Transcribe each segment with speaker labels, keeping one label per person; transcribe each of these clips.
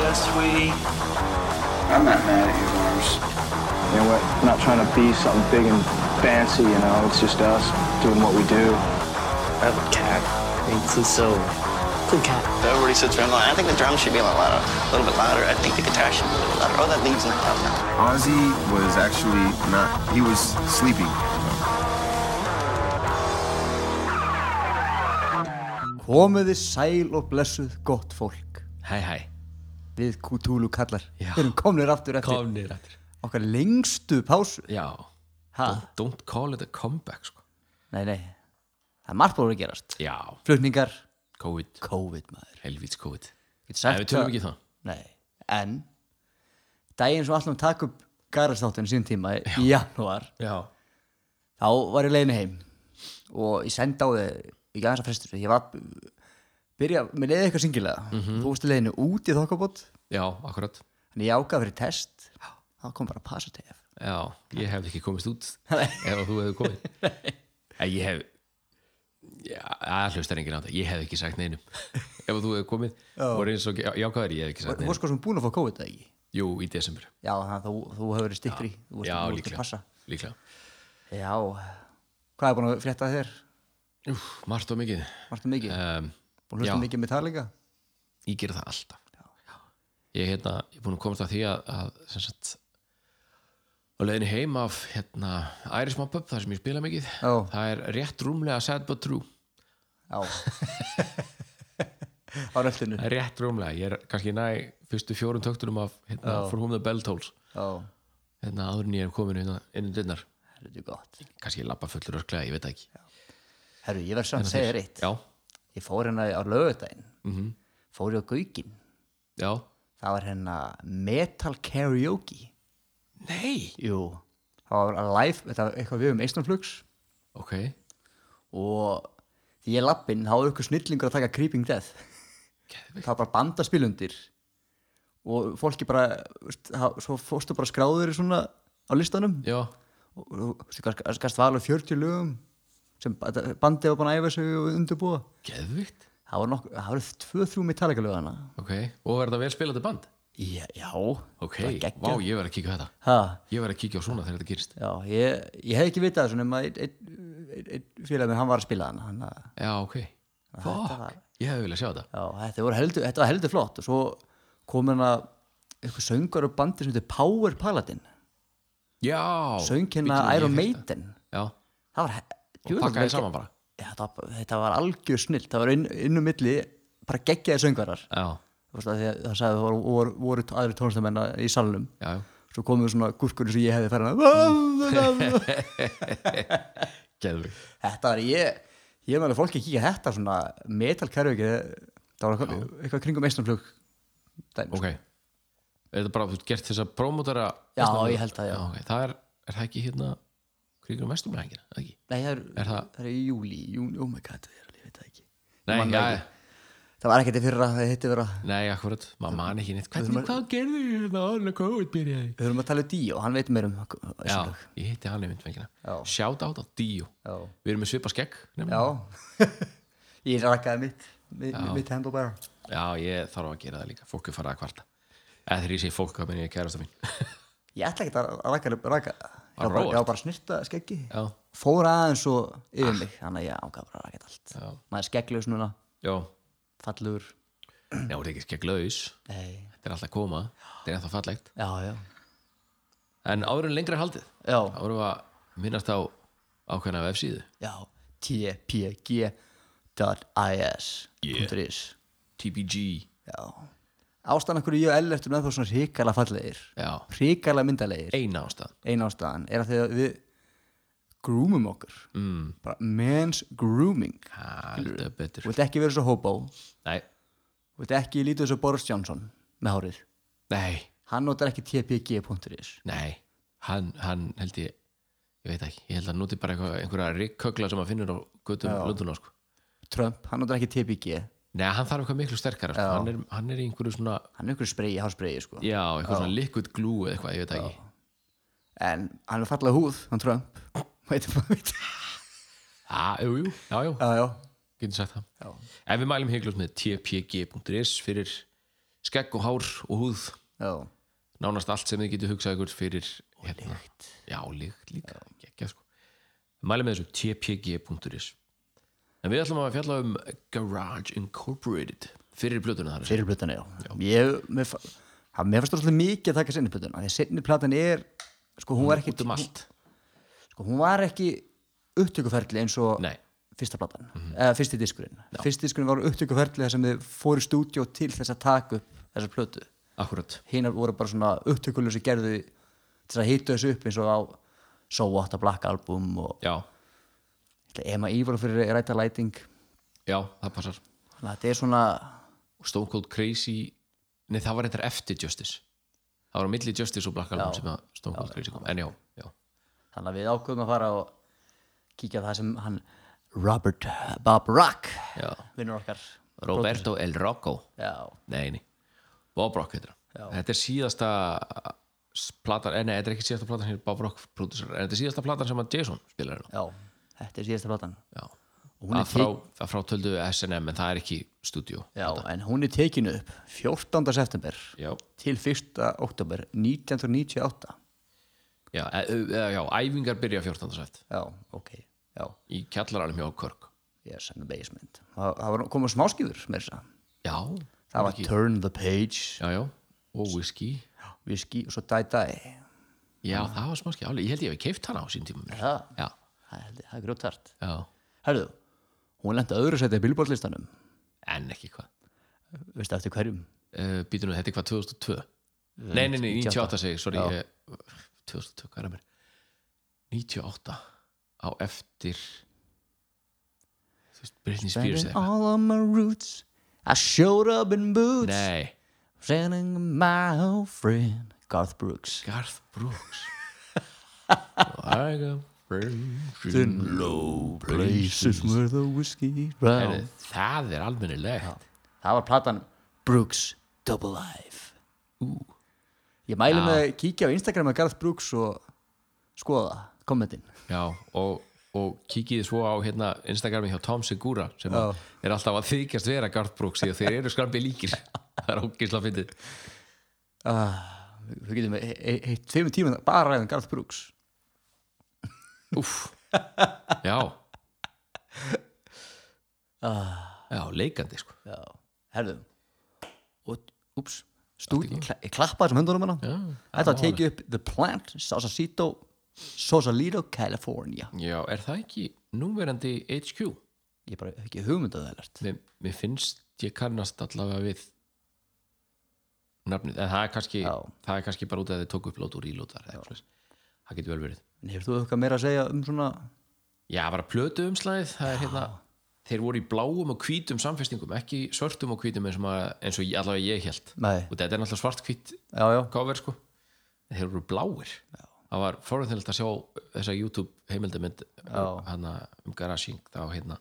Speaker 1: Yeah, sweetie.
Speaker 2: I'm not mad at you, Lars.
Speaker 3: You know, we're not trying to be something big and fancy, you know, it's just us doing what we do.
Speaker 4: I have a cat. It's just so cool cat.
Speaker 1: Everybody sits around going, I think the drums should be a little louder, a little bit louder. I think the guitar should be a little bit louder. Oh, that lead's not loud enough.
Speaker 5: Ozzy was actually not, he was sleeping.
Speaker 6: Komuði sæl og blessuð gott fólk
Speaker 7: Hæ, hæ,
Speaker 6: Við Kutúlu kallar
Speaker 7: Já.
Speaker 6: Við erum komnir aftur eftir
Speaker 7: komnir aftur
Speaker 6: okkar lengstu pásu
Speaker 7: Já,
Speaker 6: ha.
Speaker 7: don't call it a comeback sko.
Speaker 6: Nei, nei, það er margt búin að gerast
Speaker 7: Já,
Speaker 6: Flutningar,
Speaker 7: COVID,
Speaker 6: COVID maður
Speaker 7: helvíts COVID
Speaker 6: Getur
Speaker 7: Nei,
Speaker 6: sagt
Speaker 7: við tölum ekki um það
Speaker 6: Nei, en Daginn sem allum taka upp garastáttun sín tíma í janúar
Speaker 7: Já,
Speaker 6: Þá var ég leiðin heim Og ég sendi á þig Ég gæði þess að frestur Ég var Byrja, mér leiði eitthvað singilega
Speaker 7: Mhm.
Speaker 6: Þú varst í leiðinu út í þokkabót
Speaker 7: já, akkurat
Speaker 6: Þannig ég ákað fyrir test Þá kom bara positive
Speaker 7: Já, ég hefði ekki komist út
Speaker 6: Nei.
Speaker 7: ef þú hefði komið En ég hef Já, það hlustar enginn á þetta Ég hef ekki sagt neinum Ef þú hefði komið og eins og jákvæður, ég hef ekki sagt
Speaker 6: Þú
Speaker 7: neinum
Speaker 6: varst sko sem búin að fá COVID eða ekki
Speaker 7: Jú, í desember
Speaker 6: Já, þannig að þú, þú hefur verið stikkri Þú varst
Speaker 7: Já,
Speaker 6: þú varst að
Speaker 7: líklega,
Speaker 6: passa
Speaker 7: líklega.
Speaker 6: Já, hvað er búin að frétta þér?
Speaker 7: Úf, Margt og mikið
Speaker 6: Vartu mikið?
Speaker 7: um,
Speaker 6: búin að hlusta
Speaker 7: já.
Speaker 6: mikið með talega?
Speaker 7: ég gera það alltaf ég, hérna, ég er búin að komast að því að, að sem sagt á leiðinu heim af hérna, Irish Mob Up, það sem ég spila mikið
Speaker 6: Já.
Speaker 7: það er rétt rúmlega sad but true
Speaker 6: Já Á röldinu
Speaker 7: það er rétt rúmlega, ég er kannski næ fyrstu fjórum töktunum af hérna, For Whom the Bell Tolls
Speaker 6: Já,
Speaker 7: hérna áður en ég er komin hérna, inn um dyrnar
Speaker 6: það er gott
Speaker 7: kannski lappa fullur örklega, ég veit það ekki
Speaker 6: Herru, ég verð samt að segja Hérna þér Mhm. eitt
Speaker 7: já,
Speaker 6: Ég fór hérna á lögudaginn Fór ég á Gaukin
Speaker 7: já,
Speaker 6: Það var hérna metal karaoke
Speaker 7: nei
Speaker 6: Jú, það var live Þetta var eitthvað við um Eistunflugs
Speaker 7: ok,
Speaker 6: og því ég lappinn þá er ykkur snillingur að taka Creeping Death það var bara bandaspilundir og fólki bara veist, það- svo fórstu bara skráður í svona á listanum
Speaker 7: já,
Speaker 6: og þú veist, gast- gast val á 40 lögum sem ba- þetta- bandið var búin að æfa sig og undirbúa
Speaker 7: geðvikt
Speaker 6: það voru, nokk- það voru tvö, þrjú Metallica lögana
Speaker 7: ok, og er þetta vel spilandi band
Speaker 6: já, já
Speaker 7: ok,
Speaker 6: það var
Speaker 7: vá,
Speaker 6: geggjað.
Speaker 7: ég verð að kíka á þetta
Speaker 6: Ha,
Speaker 7: ég verð að kíka á svona þegar þetta gerist
Speaker 6: já, ég, ég hef ekki vitað þessu nema einn ein, ein, ein félag minn, hann var að spila hana hann að
Speaker 7: Já, ok Fuck, ég hefði viljað sjá þetta
Speaker 6: Já, þetta, voru heldur, þetta var heldur flott og svo kom hérna eitthvað söngar og bandi sem heitir Power Paladin
Speaker 7: Já
Speaker 6: söng hérna
Speaker 7: bíddu, ég
Speaker 6: Iron
Speaker 7: hef
Speaker 6: Maiden
Speaker 7: þetta. Já,
Speaker 6: það var he- djöfull
Speaker 7: pakkaði
Speaker 6: vel gert.
Speaker 7: saman bara.
Speaker 6: Já, þetta, var- þetta var algjör snill það var inn, inn um milli bara geggjaði söngarar
Speaker 7: já,
Speaker 6: Þú veist, af því að það sagði það voru, voru, voru aðri tónlistamenn í salnum
Speaker 7: já
Speaker 6: svo komum svona gúrkur sem ég hefði ferðan
Speaker 7: Geðvig
Speaker 6: þetta var ég ég meðal fólki að kíka þetta svona metal karaoke það var eitthvað, eitthvað kringum sko. eistunflug dæmis
Speaker 7: Ok Er þetta bara, þú ert gert þess að prómótara
Speaker 6: Já,
Speaker 7: Veistlunum?
Speaker 6: ég held það, já.
Speaker 7: ok. Það er, er það ekki hérna Kringum vestum hægina, það ekki
Speaker 6: Nei, það er,
Speaker 7: Er
Speaker 6: það?
Speaker 7: það-
Speaker 6: er í júli, júni, oh my god, það er alveg, ég veit það ekki. Ég
Speaker 7: Nei,
Speaker 6: man það
Speaker 7: já,
Speaker 6: ekki. Það var ekkert í fyrra, það hitti vera,
Speaker 7: nei, akkurat Maður man ekki neitt Hvernig, hvað gerðu ég hérna áður en COVID byrjaði?
Speaker 6: við höfum að tala um Díó, hann veit mér um þessu
Speaker 7: Já,
Speaker 6: lög.
Speaker 7: ég hitti hann í myndfengina
Speaker 6: Já.
Speaker 7: Shout out á Díó
Speaker 6: Já.
Speaker 7: Við erum með svipa skegg
Speaker 6: Já,
Speaker 7: nefnilega.
Speaker 6: ég rakkaði mitt, mitt, mitt handle bara.
Speaker 7: já, ég þarf að gera það líka Fólk er farið að kvarta Eða þegar ég segi fólk að minni kærasta mín
Speaker 6: Ég ætla ekkert að rakka, rakka, ég var
Speaker 7: Að
Speaker 6: bara,
Speaker 7: róast.
Speaker 6: ég var bara að snirta skeggi.
Speaker 7: Já,
Speaker 6: Fór aðeins og yfir mig, þannig að ég ákvað bara að rakka allt.
Speaker 7: já,
Speaker 6: Maður er skegglaus núna,
Speaker 7: já
Speaker 6: fallur,
Speaker 7: Já, það er ekki skegglaus
Speaker 6: nei,
Speaker 7: Þetta er alltaf að koma, þetta er ennþá fallegt
Speaker 6: já, já,
Speaker 7: En áður en lengra er haldið
Speaker 6: Já.
Speaker 7: Þá erum við að minnast á ákveðna vefsíðu
Speaker 6: já, tpg.is,
Speaker 7: Yeah.
Speaker 6: punktur is.
Speaker 7: TPG
Speaker 6: Já. Ástæðan okkur ég og Ell ertum ennþá svona hrikalega fallegir
Speaker 7: Já,
Speaker 6: hrikalega myndalegir
Speaker 7: eina ástæðan
Speaker 6: ein ástæðan er að því að við groomum okkur mm. bara men's grooming
Speaker 7: Haldur betur
Speaker 6: þú veit ekki verið svo hobo þú
Speaker 7: Nei,
Speaker 6: veit ekki lítið svo Boris Johnson með hárið
Speaker 7: nei,
Speaker 6: hann notar ekki tpg.is
Speaker 7: nei Hann, hann held ég, ég veit ekki Ég held að hann noti bara eitthvað, einhverja rikkögla sem hann finnur á göttum Lunduna sko.
Speaker 6: Trump, hann notar ekki tpg hann
Speaker 7: Nei, hann þarf eitthvað miklu sterkara sko. hann, er, hann er í einhverju svona
Speaker 6: er ykkur spreyi, hárspreyi sko
Speaker 7: Já, eitthvað svona liquid glue eða eitthvað, ég veit ekki
Speaker 6: en hann er fallega húð, hann Trump veit hvað veit
Speaker 7: Ah, jú, jú, já, já
Speaker 6: já, já,
Speaker 7: getur sagt það en við mælum heiklust með tpg.is fyrir skegg og hár og húð
Speaker 6: já,
Speaker 7: nánast allt sem þið getur hugsað ykkur fyrir hérna. líkt já, líkt líka, ekki sko mæli með þessu tpg.is en við ætlum að fjalla um Garage Incorporated fyrir blötuna þar
Speaker 6: fyrir plötana já, ég, mér, fa- það- mér fannst rosalega mikið að taka sinni plötuna því að sinni platan er sko hún var ekki
Speaker 7: út um allt
Speaker 6: sko, hún var ekki upptökuferli eins og
Speaker 7: Nei. Mhm.
Speaker 6: fyrsta platan, eða fyrsti diskurinn fyrsti diskurinn var upptökuferli þar sem þau fóru í stúdíó til þess að taka upp þessa plötu
Speaker 7: akkurat,
Speaker 6: hinar voru bara svona upptökulur sem gerðu til að hýta þessu upp eins og á So What a Black Album og
Speaker 7: já,
Speaker 6: Emma Ívor fyrir Ræta Lighting
Speaker 7: já, það passar
Speaker 6: þannig að þetta er svona
Speaker 7: og Stone Cold Crazy nei, það var eitthvað eftir Justice það var á milli Justice og Black Album
Speaker 6: Já.
Speaker 7: sem að Stone Cold Crazy kom, en já, já
Speaker 6: þannig að við ákveðum að fara og kíkja á það sem hann Robert Bob Rock
Speaker 7: Já.
Speaker 6: vinnur okkar
Speaker 7: Roberto El Rocco
Speaker 6: já,
Speaker 7: Nei, nei, Bob Rock heitir
Speaker 6: Já.
Speaker 7: hann Þetta er síðasta s- platan, eh, nei, þetta er ekki síðasta platan hér Bob Rock producer, en þetta er síðasta platan sem að Jason spilar hérna
Speaker 6: já, þetta er síðasta platan
Speaker 7: Já.
Speaker 6: Og hún er
Speaker 7: að frá, að frá töldu SNM en það er ekki stúdíó
Speaker 6: Já, en hún er tekinu upp 14. september
Speaker 7: Já,
Speaker 6: til 1. oktober 1998
Speaker 7: já, e, e, já, æfingar byrja 14. sætt
Speaker 6: Já, ok, já,
Speaker 7: í kjallaranum hjá Körk
Speaker 6: yes, in the basement Það, það var komið smáskýfur með þess að
Speaker 7: Já,
Speaker 6: Það var Turn the Page,
Speaker 7: já, já, og whisky
Speaker 6: Whiskey og svo Die Die
Speaker 7: Já, það var smáski álega, ég held ég hef keift hana á sín tíma mér.
Speaker 6: Já.
Speaker 7: já,
Speaker 6: Það er- það er grjóttart
Speaker 7: já,
Speaker 6: Herðu, hún lenda öðru setja í billboardlistanum
Speaker 7: en ekki hvað
Speaker 6: Veistu eftir hverjum?
Speaker 7: uh, býtum við, þetta er hvað 2002 nei, nei, nei, 98 segi, ég, sorry ég, 2002, hvað er að mér 98 á eftir þú veist, Britney Spears eða eitthvað
Speaker 6: all of my roots I showed up in boots
Speaker 7: nei,
Speaker 6: Sending my old friend Garth Brooks
Speaker 7: Garth Brooks I got friends in low places
Speaker 6: where the whiskey
Speaker 7: Heyrðu, það er almennilegt
Speaker 6: Það var platan Brooks Double Life Ég mæli með að kíkja á Instagram að Garth Brooks og skoða kommentin
Speaker 7: já, og og kíkið svo á hérna Instagrami hjá Tom Segura sem að er alltaf að þykjast vera Garth Brooks því að þeir eru skrambi líkir það er ógisla fyndið
Speaker 6: Við getum e- e- heitt tveimur tíma bara ræðum Garth Brooks
Speaker 7: Úff, já
Speaker 6: Ah.
Speaker 7: Já, leikandi sko
Speaker 6: Já, herðum og, úps, stúdíu kla, ég klappa þessum höndunum hana Þetta var tekið upp The Plant, Sausalito Sausalito, California
Speaker 7: Já, er það ekki núverandi HQ?
Speaker 6: Ég bara hef ekki hugmynd að það er
Speaker 7: Mér, mér finnst ég kannast allavega við nafnið, en það er kannski
Speaker 6: Já.
Speaker 7: það er kannski bara út af að þið tóku upp lót og rílót þar eða eitthvað svoleiðis. það getur vel verið
Speaker 6: En hefur þú eitthvað meira að segja um svona
Speaker 7: Já, bara plötu umslæðið, það er hérna þeir voru í bláum og hvítum samfestingum ekki svörtum og hvítum eins og, maður, eins og ég- allavega ég held
Speaker 6: Nei.
Speaker 7: og þetta er náttúrulega svart-hvít
Speaker 6: Já, já,
Speaker 7: cover sko en þeir eru bláir það var forðinlega að sjá þessa YouTube heimildamind hana um Garasing þá hérna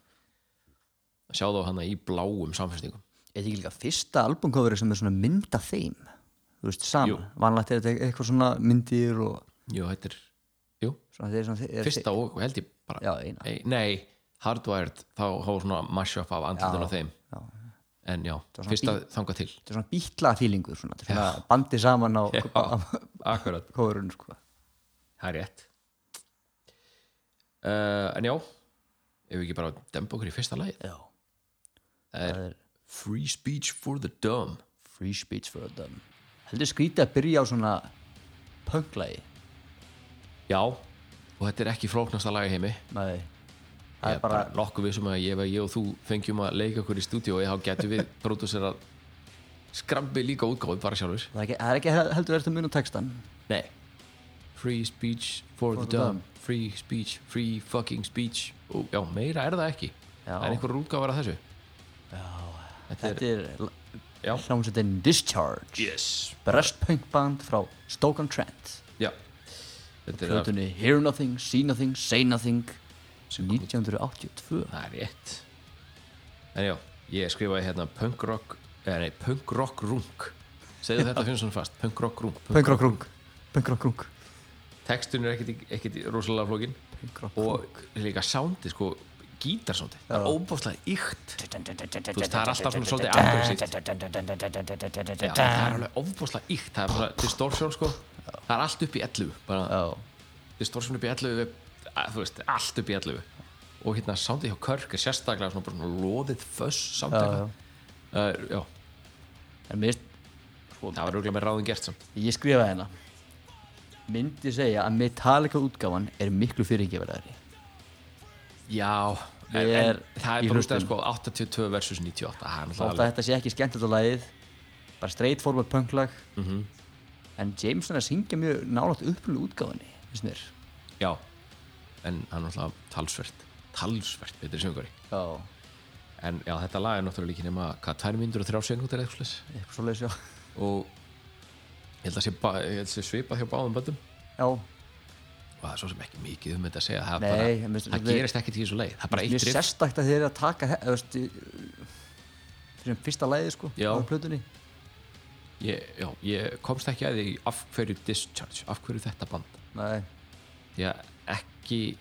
Speaker 7: að sjá þá hana í bláum samfélstingum
Speaker 6: Er þetta ekki líka fyrsta albumkofri sem er svona mynd af þeim þú veist,
Speaker 7: Jú.
Speaker 6: saman, vanlagt er þetta eitthvað svona myndir og
Speaker 7: jú, þetta er, jú,
Speaker 6: svona, þeir, svona, þeir,
Speaker 7: fyrsta og held ég bara
Speaker 6: Já, eina.
Speaker 7: Ei, nei, Hardwired þá hafa svona mashup af andlutun á þeim já. en já, fyrsta þangað til
Speaker 6: þetta er svona bítla fílingur svona, þetta er svona bandi saman á, á
Speaker 7: akkurat,
Speaker 6: kofurinn sko.
Speaker 7: það er rétt uh, en já ef við ekki bara dempa okkur í fyrsta lagi
Speaker 6: Já,
Speaker 7: Free Speech for the Dumb
Speaker 6: free speech for them heldur skrítið að byrja á svona punklagi
Speaker 7: Já, og þetta er ekki flóknasta lag í heimi
Speaker 6: Nei,
Speaker 7: Ég
Speaker 6: það
Speaker 7: er
Speaker 6: er bara
Speaker 7: bara nokkuð vissum að ég, ef ég og þú fengjum að leika okkur í stúdíu og þá getum við pródúsera skrambi líka útgáðu bara sjálfur
Speaker 6: það er ekki, það er ekki heldur verið að muna textan
Speaker 7: Nei Free speech for, the,
Speaker 6: the
Speaker 7: dumb. Free speech, free fucking speech og, Já, meira er það ekki
Speaker 6: Já.
Speaker 7: Það er einhver útgáfar að þessu Þetta er,
Speaker 6: þetta er
Speaker 7: Já.
Speaker 6: hljómsveitin Discharge
Speaker 7: yes
Speaker 6: Brest punk band frá Stoke on Trent
Speaker 7: Já Þetta er
Speaker 6: plötunni Hear Nothing, See Nothing, Say Nothing 1982
Speaker 7: Það er rétt En já, ég skrifaði hérna punk rock eh, Nei, punk rock rung Segðu þetta fyrir svona fast, punk rock rung punk.
Speaker 6: Pönkrock rung Pönkrock rung
Speaker 7: Textun er ekkit, ekkit rosalega flókin
Speaker 6: Punk rock
Speaker 7: Og líka soundi, sko gítarsóti það er óbúslega ykt þú veist, það er alltaf svona svolítið aggressíft Já, það er alveg óbúslega ykt það er bara distortion sko það er allt upp í 11 bara,
Speaker 6: Já.
Speaker 7: distortion upp í 11 við- að, þú veist, allt upp í 11 og hérna soundið hjá Körk er sérstaklega svona, bara svona loðið föss samtaka uh, já,
Speaker 6: En mér,
Speaker 7: það var rúglega með ráðin gert samt
Speaker 6: ég skrifaði hérna myndi segja að Metallica útgáfan er miklu fyrirgeverðari
Speaker 7: Já, en,
Speaker 6: Ég
Speaker 7: en
Speaker 6: er
Speaker 7: það
Speaker 6: í
Speaker 7: er bara úst að
Speaker 6: hlustum.
Speaker 7: sko 82 versus 98 það er
Speaker 6: Þótt
Speaker 7: náttúrulega
Speaker 6: að
Speaker 7: alveg-
Speaker 6: þetta sé ekki skemmtilegt á lagið bara straight forward punklag mm
Speaker 7: Mhm.
Speaker 6: en Jameson er að syngja mjög nálægt upplölu útgáfinni finnst mér
Speaker 7: Já, en það er náttúrulega talsvert talsvert betri söngari
Speaker 6: Já,
Speaker 7: en já, þetta lag er náttúrulega líka nema hvað, 2 mínútur og 3 sekúndur eða eitthvað svoleiðis.
Speaker 6: eitthvað svo leiðis já
Speaker 7: og ég held að sé, ba- ég held að sé svipað hjá báðum böndum
Speaker 6: Já,
Speaker 7: og það er svo sem ekki mikið um þetta að segja það,
Speaker 6: Nei,
Speaker 7: bara,
Speaker 6: en minnst-
Speaker 7: það
Speaker 6: við-
Speaker 7: gerist ekkert í þessu leið það er bara
Speaker 6: mjög
Speaker 7: eitt riff
Speaker 6: sérstakt að þeir eru að taka þe- eða, veist, í- fyrir um fyrsta lagið sko
Speaker 7: Já.
Speaker 6: á plötunni
Speaker 7: ég, já, ég komst ekki að því af hverju Discharge, af hverju þetta band
Speaker 6: Nei,
Speaker 7: því að ekki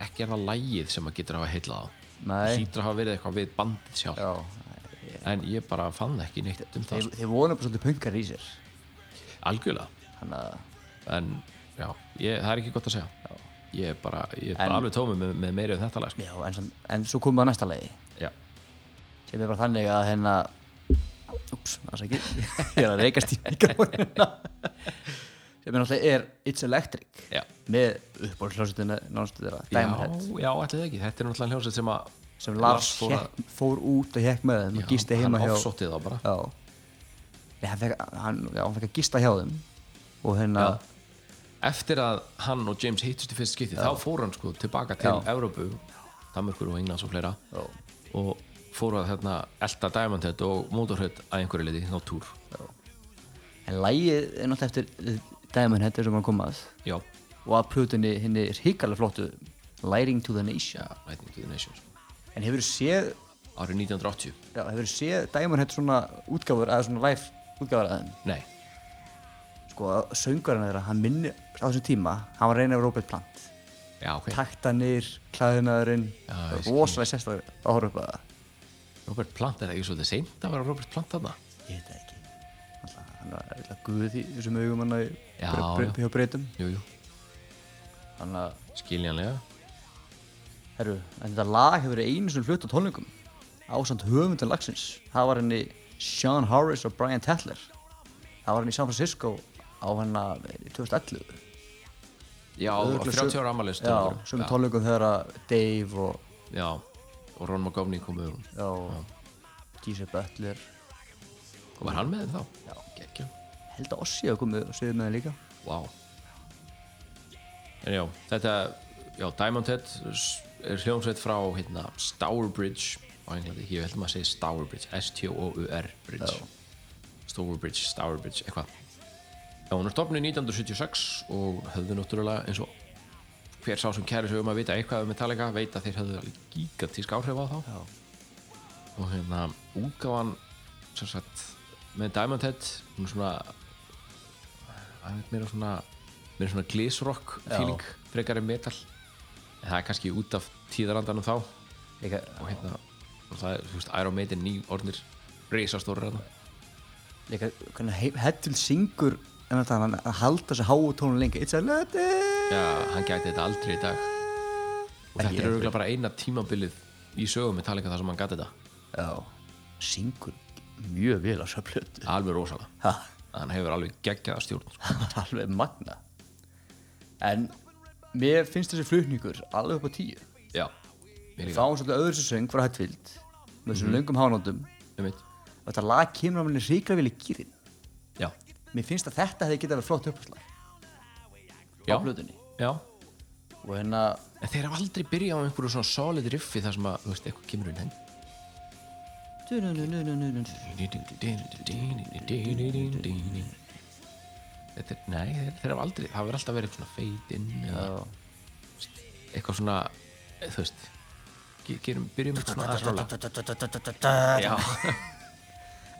Speaker 7: ekki er það lægið sem að getur að hafa heilað á það
Speaker 6: nei
Speaker 7: hlýtur að hafa verið eitthvað við bandið sjálf
Speaker 6: Já,
Speaker 7: en ég bara fann ekki neitt um það
Speaker 6: þeir, þeir vona bara svolítið punkar í sér
Speaker 7: sko. algjörlega
Speaker 6: Þannig að
Speaker 7: en já, ég, það er ekki gott að segja ég er bara, ég er bara
Speaker 6: En-
Speaker 7: alveg tómi með, með meiri um þetta lag sko.
Speaker 6: Já, en, samt- en svo komum við að næsta lagi
Speaker 7: já.
Speaker 6: sem er bara þannig að hérna ups, það ekki ég er að reykast í mikrofonina sem er náttúrulega er It's Electric
Speaker 7: Já.
Speaker 6: með uppbólkljósutina náttúrulega þeirra
Speaker 7: já,
Speaker 6: Diamond Head
Speaker 7: já, ætli það ekki þetta er náttúrulega hljómsveit sem að
Speaker 6: um sem Lars
Speaker 7: fór
Speaker 6: fór, fór út og hekk með þeim og gisti
Speaker 7: já,
Speaker 6: heima
Speaker 7: hann
Speaker 6: hjá
Speaker 7: offsótti þá bara
Speaker 6: já. Nei, hann, fekk, hann, já, hann fekk að gista hjá þeim og hérna
Speaker 7: Já. eftir að hann og James hittust í fyrst skipti þá fór hann sko tilbaka til
Speaker 6: Já.
Speaker 7: Evrópu Danmörkur og Englands og fleira
Speaker 6: Já.
Speaker 7: og fór að hérna elta Diamond Head og Motorhead að einhverju liti á túr
Speaker 6: en lagið er náttúrulega eftir eh, Diamond Head sem hann kom að
Speaker 7: já,
Speaker 6: og að plötunni henni er hikalega flottu Lighting to the Nation
Speaker 7: já, Lightning to the Nations
Speaker 6: en hefur séð
Speaker 7: árið 1980
Speaker 6: Já, hefur séð Diamond Head svona útgáfur eða svona live útgáfur að þeim
Speaker 7: nei,
Speaker 6: sko, að söngvarinn þeirra, hann minni á þessum tíma, hann var reynið af Robert Plant
Speaker 7: já ok
Speaker 6: taktanir, klæðinaðurinn
Speaker 7: Já, ég skil.
Speaker 6: rosalega sérstakar að horfa upp að það
Speaker 7: Robert Plant, er það ekki svolítið seint að vera Robert Plant þarna?
Speaker 6: ég veit það ekki Alltaf, hann var eitthvað guð í þessum augum hann í-
Speaker 7: Já,
Speaker 6: bre- bre- hjá breytum
Speaker 7: Jú, jú,
Speaker 6: þannig að,
Speaker 7: skiljanlega
Speaker 6: herru, en þetta lag hefur verið einu sem flutt á tónleikum ásamt höfundan lagsins það var henni Sean Harris og Brian Tetler það var henni í San Francisco á henni 2011
Speaker 7: Já,
Speaker 6: Örugglega
Speaker 7: 30
Speaker 6: sum-
Speaker 7: ára amalist
Speaker 6: Já, sömu tónleikum þegar að Dave og,
Speaker 7: Já, og Ron McGovney komið um
Speaker 6: já, Gísi Butler
Speaker 7: og var hann með þeim þá? Já, gekkjum
Speaker 6: held að Ossi hafa komið og sögðu með það líka
Speaker 7: Vá En já, þetta Já, Diamond Head s- er hljómsveit frá hérna, Stourbridge á englandi, ég held maður að segja Stourbridge S-T-O-U-R Bridge Stourbridge, Stourbridge, eitthvað Já, hún er stofnuð 1976 og höfðu náttúrulega eins og hver sá sem kæri sig um að vita eitthvað um Metallica veit að þeir höfðu alveg gigantísk áhrif á þá Já. og hérna útgáfan sem sagt með Diamond Head hún er svona það er meira svona meira svona glísrock feeling frekar en metal en það er kannski út af tíðarandanum þá og
Speaker 6: Líka,
Speaker 7: hérna og það er, þú veist, Iron Maiden ný orðnir reisastóri hérna
Speaker 6: líka hvernig Hettil syngur en þetta um hann að halda þessu háu tónu lengi It's a letter
Speaker 7: já, hann gæti þetta aldrei í dag og þetta er auðvitað bara eina tímabilið í sögum með talinga þar sem hann gæti þetta
Speaker 6: Já, syngur mjög vel á þessu plötu
Speaker 7: alveg rosalega
Speaker 6: Ha,
Speaker 7: hann hefur alveg geggjaða stjórn sko.
Speaker 6: það er alveg magna en mér finnst þessi flutningur alveg upp á tíu
Speaker 7: já, mér
Speaker 6: við
Speaker 7: líka
Speaker 6: fáum svolítið öðru söng frá Hetfield með þessum löngum hánóndum
Speaker 7: um mitt
Speaker 6: og þetta lag kemur á mér ríkra vel í gýrin
Speaker 7: já,
Speaker 6: mér finnst að þetta hefði getað verið flott uppslag á
Speaker 7: já,
Speaker 6: plötunni
Speaker 7: já
Speaker 6: og hérna
Speaker 7: en þeir hafa aldrei byrjað á einhverju svona solid riffi þar sem að, þú veist, eitthvað kemur inn henn Þetta er, nei, þeir, þeir hafa aldrei það verður alltaf verið svona fade in eða eitthvað svona þú veist ge- gerum, byrjum eitthvað svona aðeins róla Já,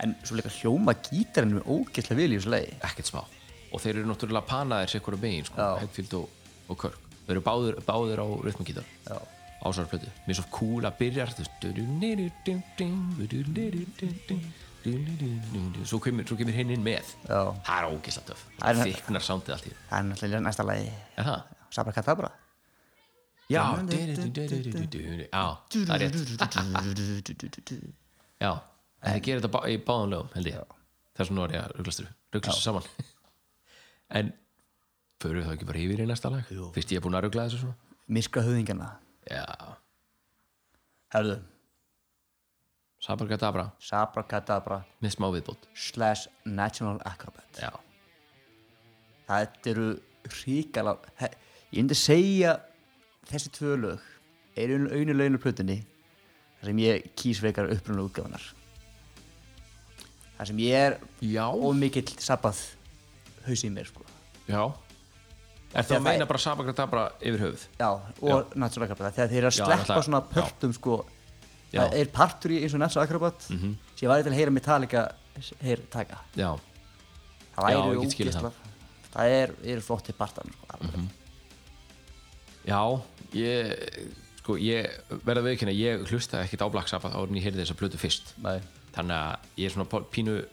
Speaker 6: en svo líka hljóma gítarinn með ógeðslega vel í þessu lagi
Speaker 7: ekkert smá og þeir eru náttúrulega panaðir sér hverju megin sko,
Speaker 6: Já.
Speaker 7: Hetfield og, og Kirk þeir eru báðir, báðir á rytmugítar
Speaker 6: Já.
Speaker 7: ásvarplötu mér er svo cool að byrja svo kemur, svo kemur hinn inn með
Speaker 6: Já.
Speaker 7: það er ógeðslega töf
Speaker 6: Það er-
Speaker 7: þyknar sándið allt í einu.
Speaker 6: Það er náttúrulega næsta lagi
Speaker 7: er það?
Speaker 6: Sabra Katabra
Speaker 7: já já, það er rétt já, það gerir þetta bá- í báðan lögum held ég það er svona orðið að rugglastur rugglastu saman en förum við þá ekki bara yfir í næsta lag fyrst ég er búin að ruggla þessu svona
Speaker 6: Myrkra höfðingjana
Speaker 7: já,
Speaker 6: Herðu
Speaker 7: Sabargadabra
Speaker 6: Sabra Katabra
Speaker 7: með smá viðbót
Speaker 6: slash National Acrobat
Speaker 7: já,
Speaker 6: Það eru ríkala Ég myndi segja þessi tvö lög eru einu löginu plötunni þar sem ég kýs veikar upprunlega útgáfunar þar sem ég er
Speaker 7: já,
Speaker 6: ómikill sabbað haus í mér sko.
Speaker 7: já. er það
Speaker 6: Þegar
Speaker 7: að
Speaker 6: það
Speaker 7: meina
Speaker 6: er-
Speaker 7: bara Sabargadabra yfir höfuð
Speaker 6: Já, og National Acrobat þegar þeir eru að
Speaker 7: Já,
Speaker 6: sleppa
Speaker 7: náttúrulega,
Speaker 6: svona
Speaker 7: já.
Speaker 6: pörtum sko,
Speaker 7: Já. Mhm.
Speaker 6: það er partur í eins og National Acrobat mm -hmm. sem ég væri til að heyra Metallica heyr taka
Speaker 7: já,
Speaker 6: það
Speaker 7: Já,
Speaker 6: væri
Speaker 7: ég get skilið
Speaker 6: ógeðslega-
Speaker 7: það. Mhm.
Speaker 6: það er, er flotti partan sko, alveg.
Speaker 7: já ég, sko, ég verða viðkynna ég hlusta ekkit á Black Sabbath árin ég heyrði þessa plötu fyrst
Speaker 6: Nei.
Speaker 7: þannig að ég er svona pál- pínu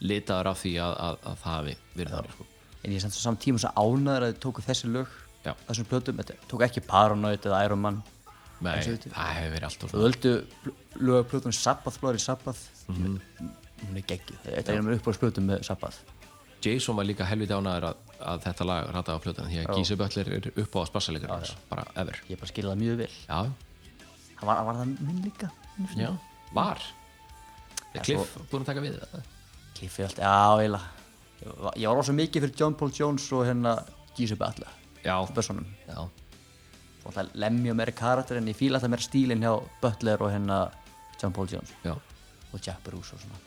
Speaker 7: litaður af því að, að, að það hafi verið þannig sko.
Speaker 6: en ég er samt svo samt tíma svo ánæður að þau tóku þessi lög
Speaker 7: Já.
Speaker 6: þessum plötum, þetta tóku ekki Paranoid eða Iron Man
Speaker 7: Nei,
Speaker 6: En svo veitum-
Speaker 7: það hefur verið alltaf
Speaker 6: þau
Speaker 7: svona
Speaker 6: völdu pl- lög plötum Sabbath, Flóri Sabbath
Speaker 7: Mhm.
Speaker 6: hún er geggjuð, þetta er einu uppbúið plötum með Sabbath
Speaker 7: Jason var líka helviti ánæður að, að þetta lag rataði á plötunum því að Gísi Böllir er upp á að spassalega bara ever
Speaker 6: ég bara skilja það mjög vel
Speaker 7: já,
Speaker 6: það var, var það minn líka
Speaker 7: já, var er
Speaker 6: svo-
Speaker 7: Cliff búin að taka við það?
Speaker 6: Cliffy allt, já, eila ég var rosa mikið fyrir John Paul Jones og hérna Gísu Balla
Speaker 7: Já,
Speaker 6: Bössunum,
Speaker 7: já,
Speaker 6: og það lemja meira karakter en ég fíla alltaf meira stílinn hjá Butler og hérna John Paul Jones
Speaker 7: já,
Speaker 6: og Jack Bruce og svona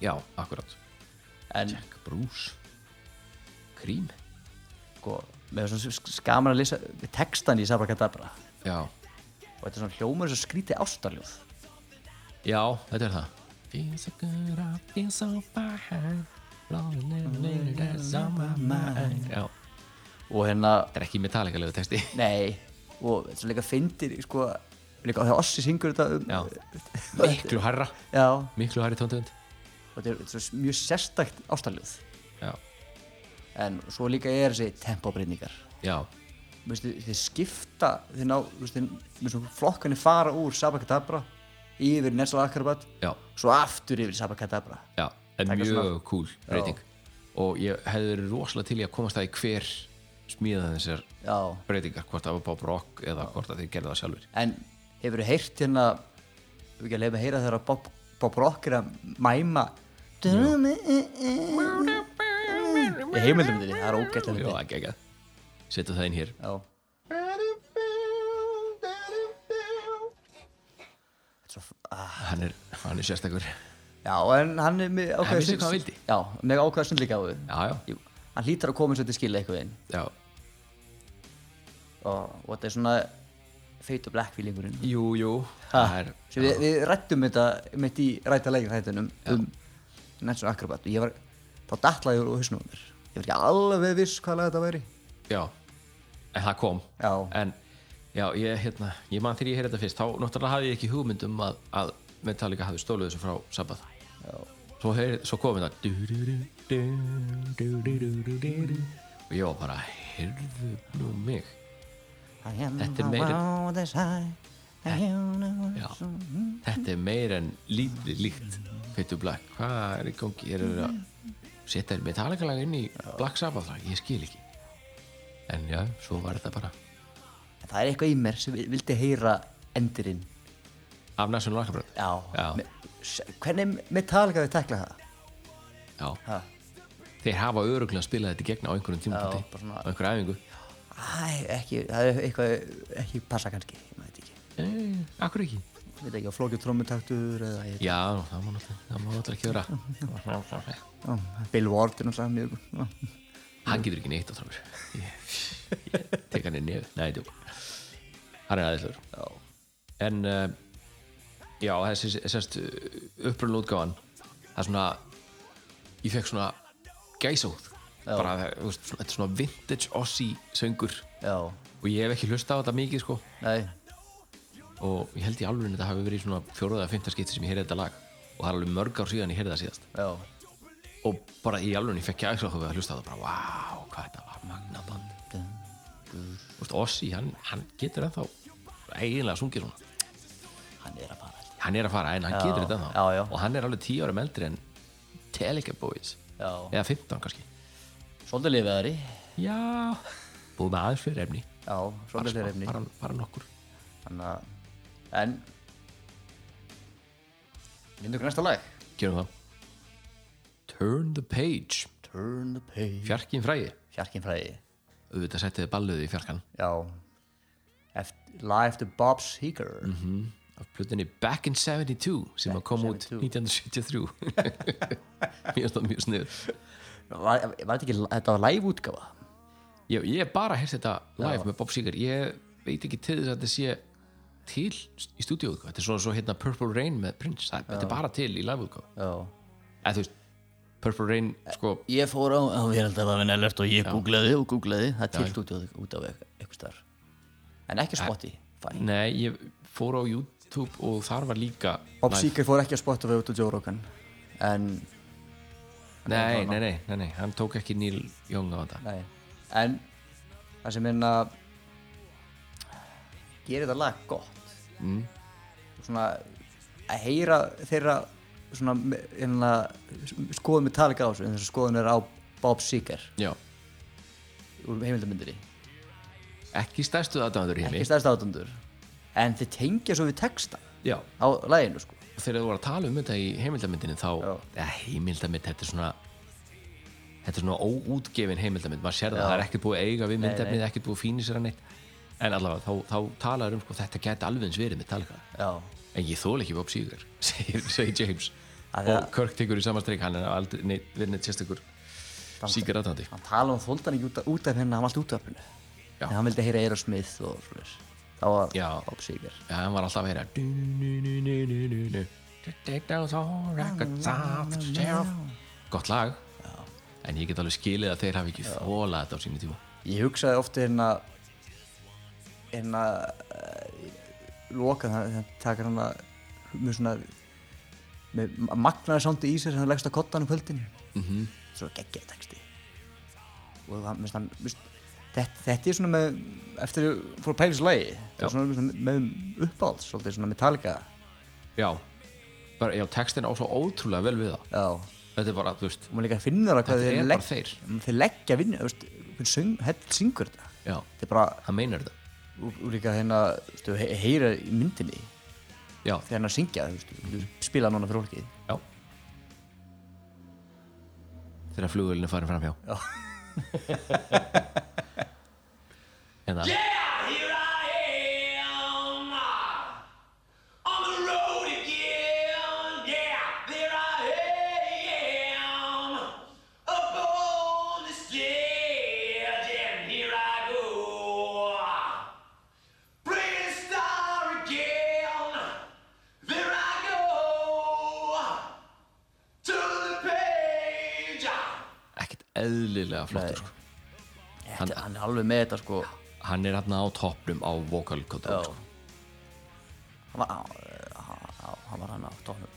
Speaker 7: já, akkurat
Speaker 6: en
Speaker 7: Jack Bruce Krím
Speaker 6: sko, með svona sk- skaman að lesa textan í Sabrakadabra og
Speaker 7: Já,
Speaker 6: þetta er svona hljómur þess að skríti ástarljóð
Speaker 7: já, þetta er það Feels so good, I feel so fine Blowing in the wind, that's on my mind Já, þetta
Speaker 6: og hérna,
Speaker 7: er ekki metallikalegu texti
Speaker 6: nei og þetta er líka fyndir, sko líka þegar Ossi syngur þetta um
Speaker 7: Já, miklu harra
Speaker 6: já,
Speaker 7: Miklu harri tóndönd
Speaker 6: og þetta er, þetta er svo mjög sérstakt ástarljóð
Speaker 7: Já,
Speaker 6: en svo líka er þessi tempóbreyningar
Speaker 7: já,
Speaker 6: Veistu, þeir skipta þeir ná, veistu, veistu, flokkanir fara úr Sabakadabra yfir Nesla Akrobat
Speaker 7: já,
Speaker 6: svo aftur yfir Sabakadabra
Speaker 7: já En
Speaker 6: Taka
Speaker 7: mjög
Speaker 6: svona-
Speaker 7: cool breyting Og ég hefði verið rosalega til í að komast það í hver smíða þessar
Speaker 6: já,
Speaker 7: breytingar hvort það var Bob Rock eða hvort að þið gerðu það sjálfur
Speaker 6: en hefur heyrt hérna við ekki að leiða að heyra þegar Bob, Bob Rock er að mæma í heimildum því, það er
Speaker 7: Já,
Speaker 6: ógætlega
Speaker 7: ekki, ekki Settu það inn hér
Speaker 6: já Þetta er svo- ah,
Speaker 7: Hann er, hann er sérstakur
Speaker 6: Já, en hann er með ákveða
Speaker 7: vissi hvað hann vildi.
Speaker 6: Já, með ákveða sundlíka
Speaker 7: Já, já,
Speaker 6: Jú, hann hlýtar að koma eins og þetta skilja eitthvað inn
Speaker 7: já
Speaker 6: og, og þetta er svona feit og black feelingurinn
Speaker 7: Jú, jú Það er,
Speaker 6: ha, sem við, við rættum þetta mitt í ræta leikir hættunum um National Acrobat og ég var þá datlaði úr hausnum á mér ég var ekki alveg viss hvað lag þetta væri
Speaker 7: já En það kom
Speaker 6: Já.
Speaker 7: En, já, ég, hérna Ég man þegar ég heyrði þetta fyrst Þá náttúrulega hafði ég ekki hugmynd um að, að Metallica hafði stóluð þessu frá Sabbath Já Svo, heyr, svo komið það du-du-du, du-du-du-du-du-du. Og ég var bara Heyrðu nú mig Þetta er meira- Já mm. Þetta er meir en lítið líkt Fittu Black Hvað er í gangi? Er það að setja Metallica lag inn í Black Sabbath lag? Ég skil ekki En já, svo var þetta bara
Speaker 6: En það er eitthvað í mér sem vi- vildi heyra endurinn
Speaker 7: Af National Lakabröð
Speaker 6: já,
Speaker 7: Já.
Speaker 6: Me, s- hvernig Metallica við tekla það
Speaker 7: Já Þeir hafa öruglega spilað þetta í gegn á einhverjum
Speaker 6: Já, bara
Speaker 7: tímapunkti
Speaker 6: svona-
Speaker 7: Á einhverju
Speaker 6: Æ,
Speaker 7: æfingu
Speaker 6: ekki, það er eitthvað ekki passa kannski, ég veit ekki
Speaker 7: eh, Akkur ekki
Speaker 6: ég veit ekki á flókið trommutaktur eða ég,
Speaker 7: Já, það má náttúrulega, það má náttúrulega ekki vera
Speaker 6: já, Bill Ward er náttúrulega mjög já.
Speaker 7: Hann getur ekki neitt á trómur Ég, ég tek hann í nefn Nei, djók Hann er aðeinslur En uh, Já, þessi sérst eh, upprunn útgáfan Það er svona Ég fekk svona gæsóð bara, þú veist, svona- þetta er svona vintage Aussie söngur
Speaker 6: já,
Speaker 7: og ég hef ekki hlusta á þetta mikið sko
Speaker 6: nei,
Speaker 7: og ég held í alveg þetta hafi verið í svona fjóruða eða fymta skipti sem ég heyrði þetta lag og það er alveg mörg ár síðan ég heyrði það síðast
Speaker 6: já
Speaker 7: og bara í alveg ég fekk ég aðeins á það að hlusta á það bara, wow, hvað þetta var magna band Þú veist, Ossi, hann, hann getur ennþá eiginlega sungið svona
Speaker 6: hann er að fara
Speaker 7: hann er að fara, en hann
Speaker 6: Já,
Speaker 7: getur þetta ennþá
Speaker 6: já, já.
Speaker 7: og hann er alveg 10 árum eldri en Telica Boys
Speaker 6: já,
Speaker 7: eða 15 kannski
Speaker 6: svolítið lifiðari
Speaker 7: já, búið með aðeins fyrir efni
Speaker 6: já, svolítið
Speaker 7: Bara-
Speaker 6: fleiri efni
Speaker 7: bara, bara nokkur
Speaker 6: þannig að, en myndum við næsta lag
Speaker 7: gerum það Turn the Page,
Speaker 6: Turn the page
Speaker 7: fjarkinn fræði
Speaker 6: Fjarkinn fræði,
Speaker 7: auðvitað settið balluði í fjarkan
Speaker 6: já Eft, lag eftir Bob Seger Mhm.
Speaker 7: af plutinni Back in 72 sem að kom út 1973 mér stóð mjög sniður
Speaker 6: var, var þetta ekki, þetta var live útgáfa
Speaker 7: ég, ég hef bara heyrst þetta live með Bob Seger ég veit ekki til þess að þetta sé til í stúdíu þetta er svona svo hérna Purple Rain með Prince það, þetta er bara til í live útgáfu
Speaker 6: já
Speaker 7: eða þú veist Purple Rain sko
Speaker 6: Ég fór á, á ég held að það var nefnilegt og ég googlaði og googlaði, það er tilt út, á- út af eitthvað starf. En ekki Spotify.
Speaker 7: nei ég fór á YouTube og þar var líka
Speaker 6: Bob
Speaker 7: live.
Speaker 6: Seger fór ekki á Spotify út á Joe Rogan, en,
Speaker 7: nei, nei, nei, nei, nei, hann tók ekki Neil Young á þetta
Speaker 6: nei, en það sem minna gerir þetta lag gott. Mm. Svona að heyra þeirra svona, hérna, skoðum við talika á þessu, en þessu skoðun er á Bob Seger
Speaker 7: já
Speaker 6: úr heimildamindri.
Speaker 7: ekki stærstu aðdæmandur í heimi
Speaker 6: Ekki stærst átundur, en þið tengja svo við texta
Speaker 7: já
Speaker 6: á laginu, sko.
Speaker 7: þegar þú var að tala um þetta í heimildamindinni þá,
Speaker 6: Já.
Speaker 7: eða heimildamind þetta er svona þetta er svona óútgefin heimildamind maður sér það, það er ekkert búið að eiga við myndefnið ekkert búið að fínisera neitt en allavega þá, þá talaður um sko, þetta gæti alveg eins verið með talika
Speaker 6: Já.
Speaker 7: en ég þól ekki Bob Seger segir, segir James
Speaker 6: Af því
Speaker 7: og
Speaker 6: að-
Speaker 7: Kirk tekur í samastreik hann er aldrei neitt, verið neitt sérstakur Seger aðtandi
Speaker 6: hann tala um þóldan ekki út, út af henni hann var allt út af henni
Speaker 7: Já.
Speaker 6: en hann vildi heyra Aerosmith og svolítið þá var
Speaker 7: Já.
Speaker 6: Bob Seger
Speaker 7: ja, hann var alltaf að heyra du, nu, nu, nu, nu, nu, nu. To take those old records off the shelf. gott lag en ég get alveg skilið að þeir hafi ekki þólað þetta á sínu tíma
Speaker 6: ég hugsaði ofta hérna hérna eh, loka þannig að taka hann að með svona með magnaði sándi í sér sem hann leggst að kotta hann um kvöldinu
Speaker 7: Mhm.
Speaker 6: -hmm. svo geggjaði texti og hann, minnst hann minnst, þetta, þetta er svona með eftir fór pælis lagi þetta
Speaker 7: Já.
Speaker 6: er svona með, með uppáhalds svolítið svona Metallica
Speaker 7: já, bara, já textin á svo ótrúlega vel við það
Speaker 6: já
Speaker 7: þetta er bara, þú veist,
Speaker 6: og maður líka finnur það hvað
Speaker 7: Þetta
Speaker 6: þeir,
Speaker 7: er bara þeir.
Speaker 6: þeir leggja vinnu þú veist, hvernig söng, hell syngur þetta
Speaker 7: já,
Speaker 6: þetta er bara,
Speaker 7: hann meinar þetta
Speaker 6: og og líka hérna þú veist, he heyra í myndinni
Speaker 7: já,
Speaker 6: þegar hann er að syngja, þú veist, þú spila núna fyrir fólkið
Speaker 7: já þegar flugvölinu farin fram hjá
Speaker 6: Já.
Speaker 7: en það ekkert eðlilega flottur sko.
Speaker 6: hann, hann er alveg með þetta sko
Speaker 7: hann er hann á toppnum á vocal control sko.
Speaker 6: hann var, á, á- á, hann var hann á tónum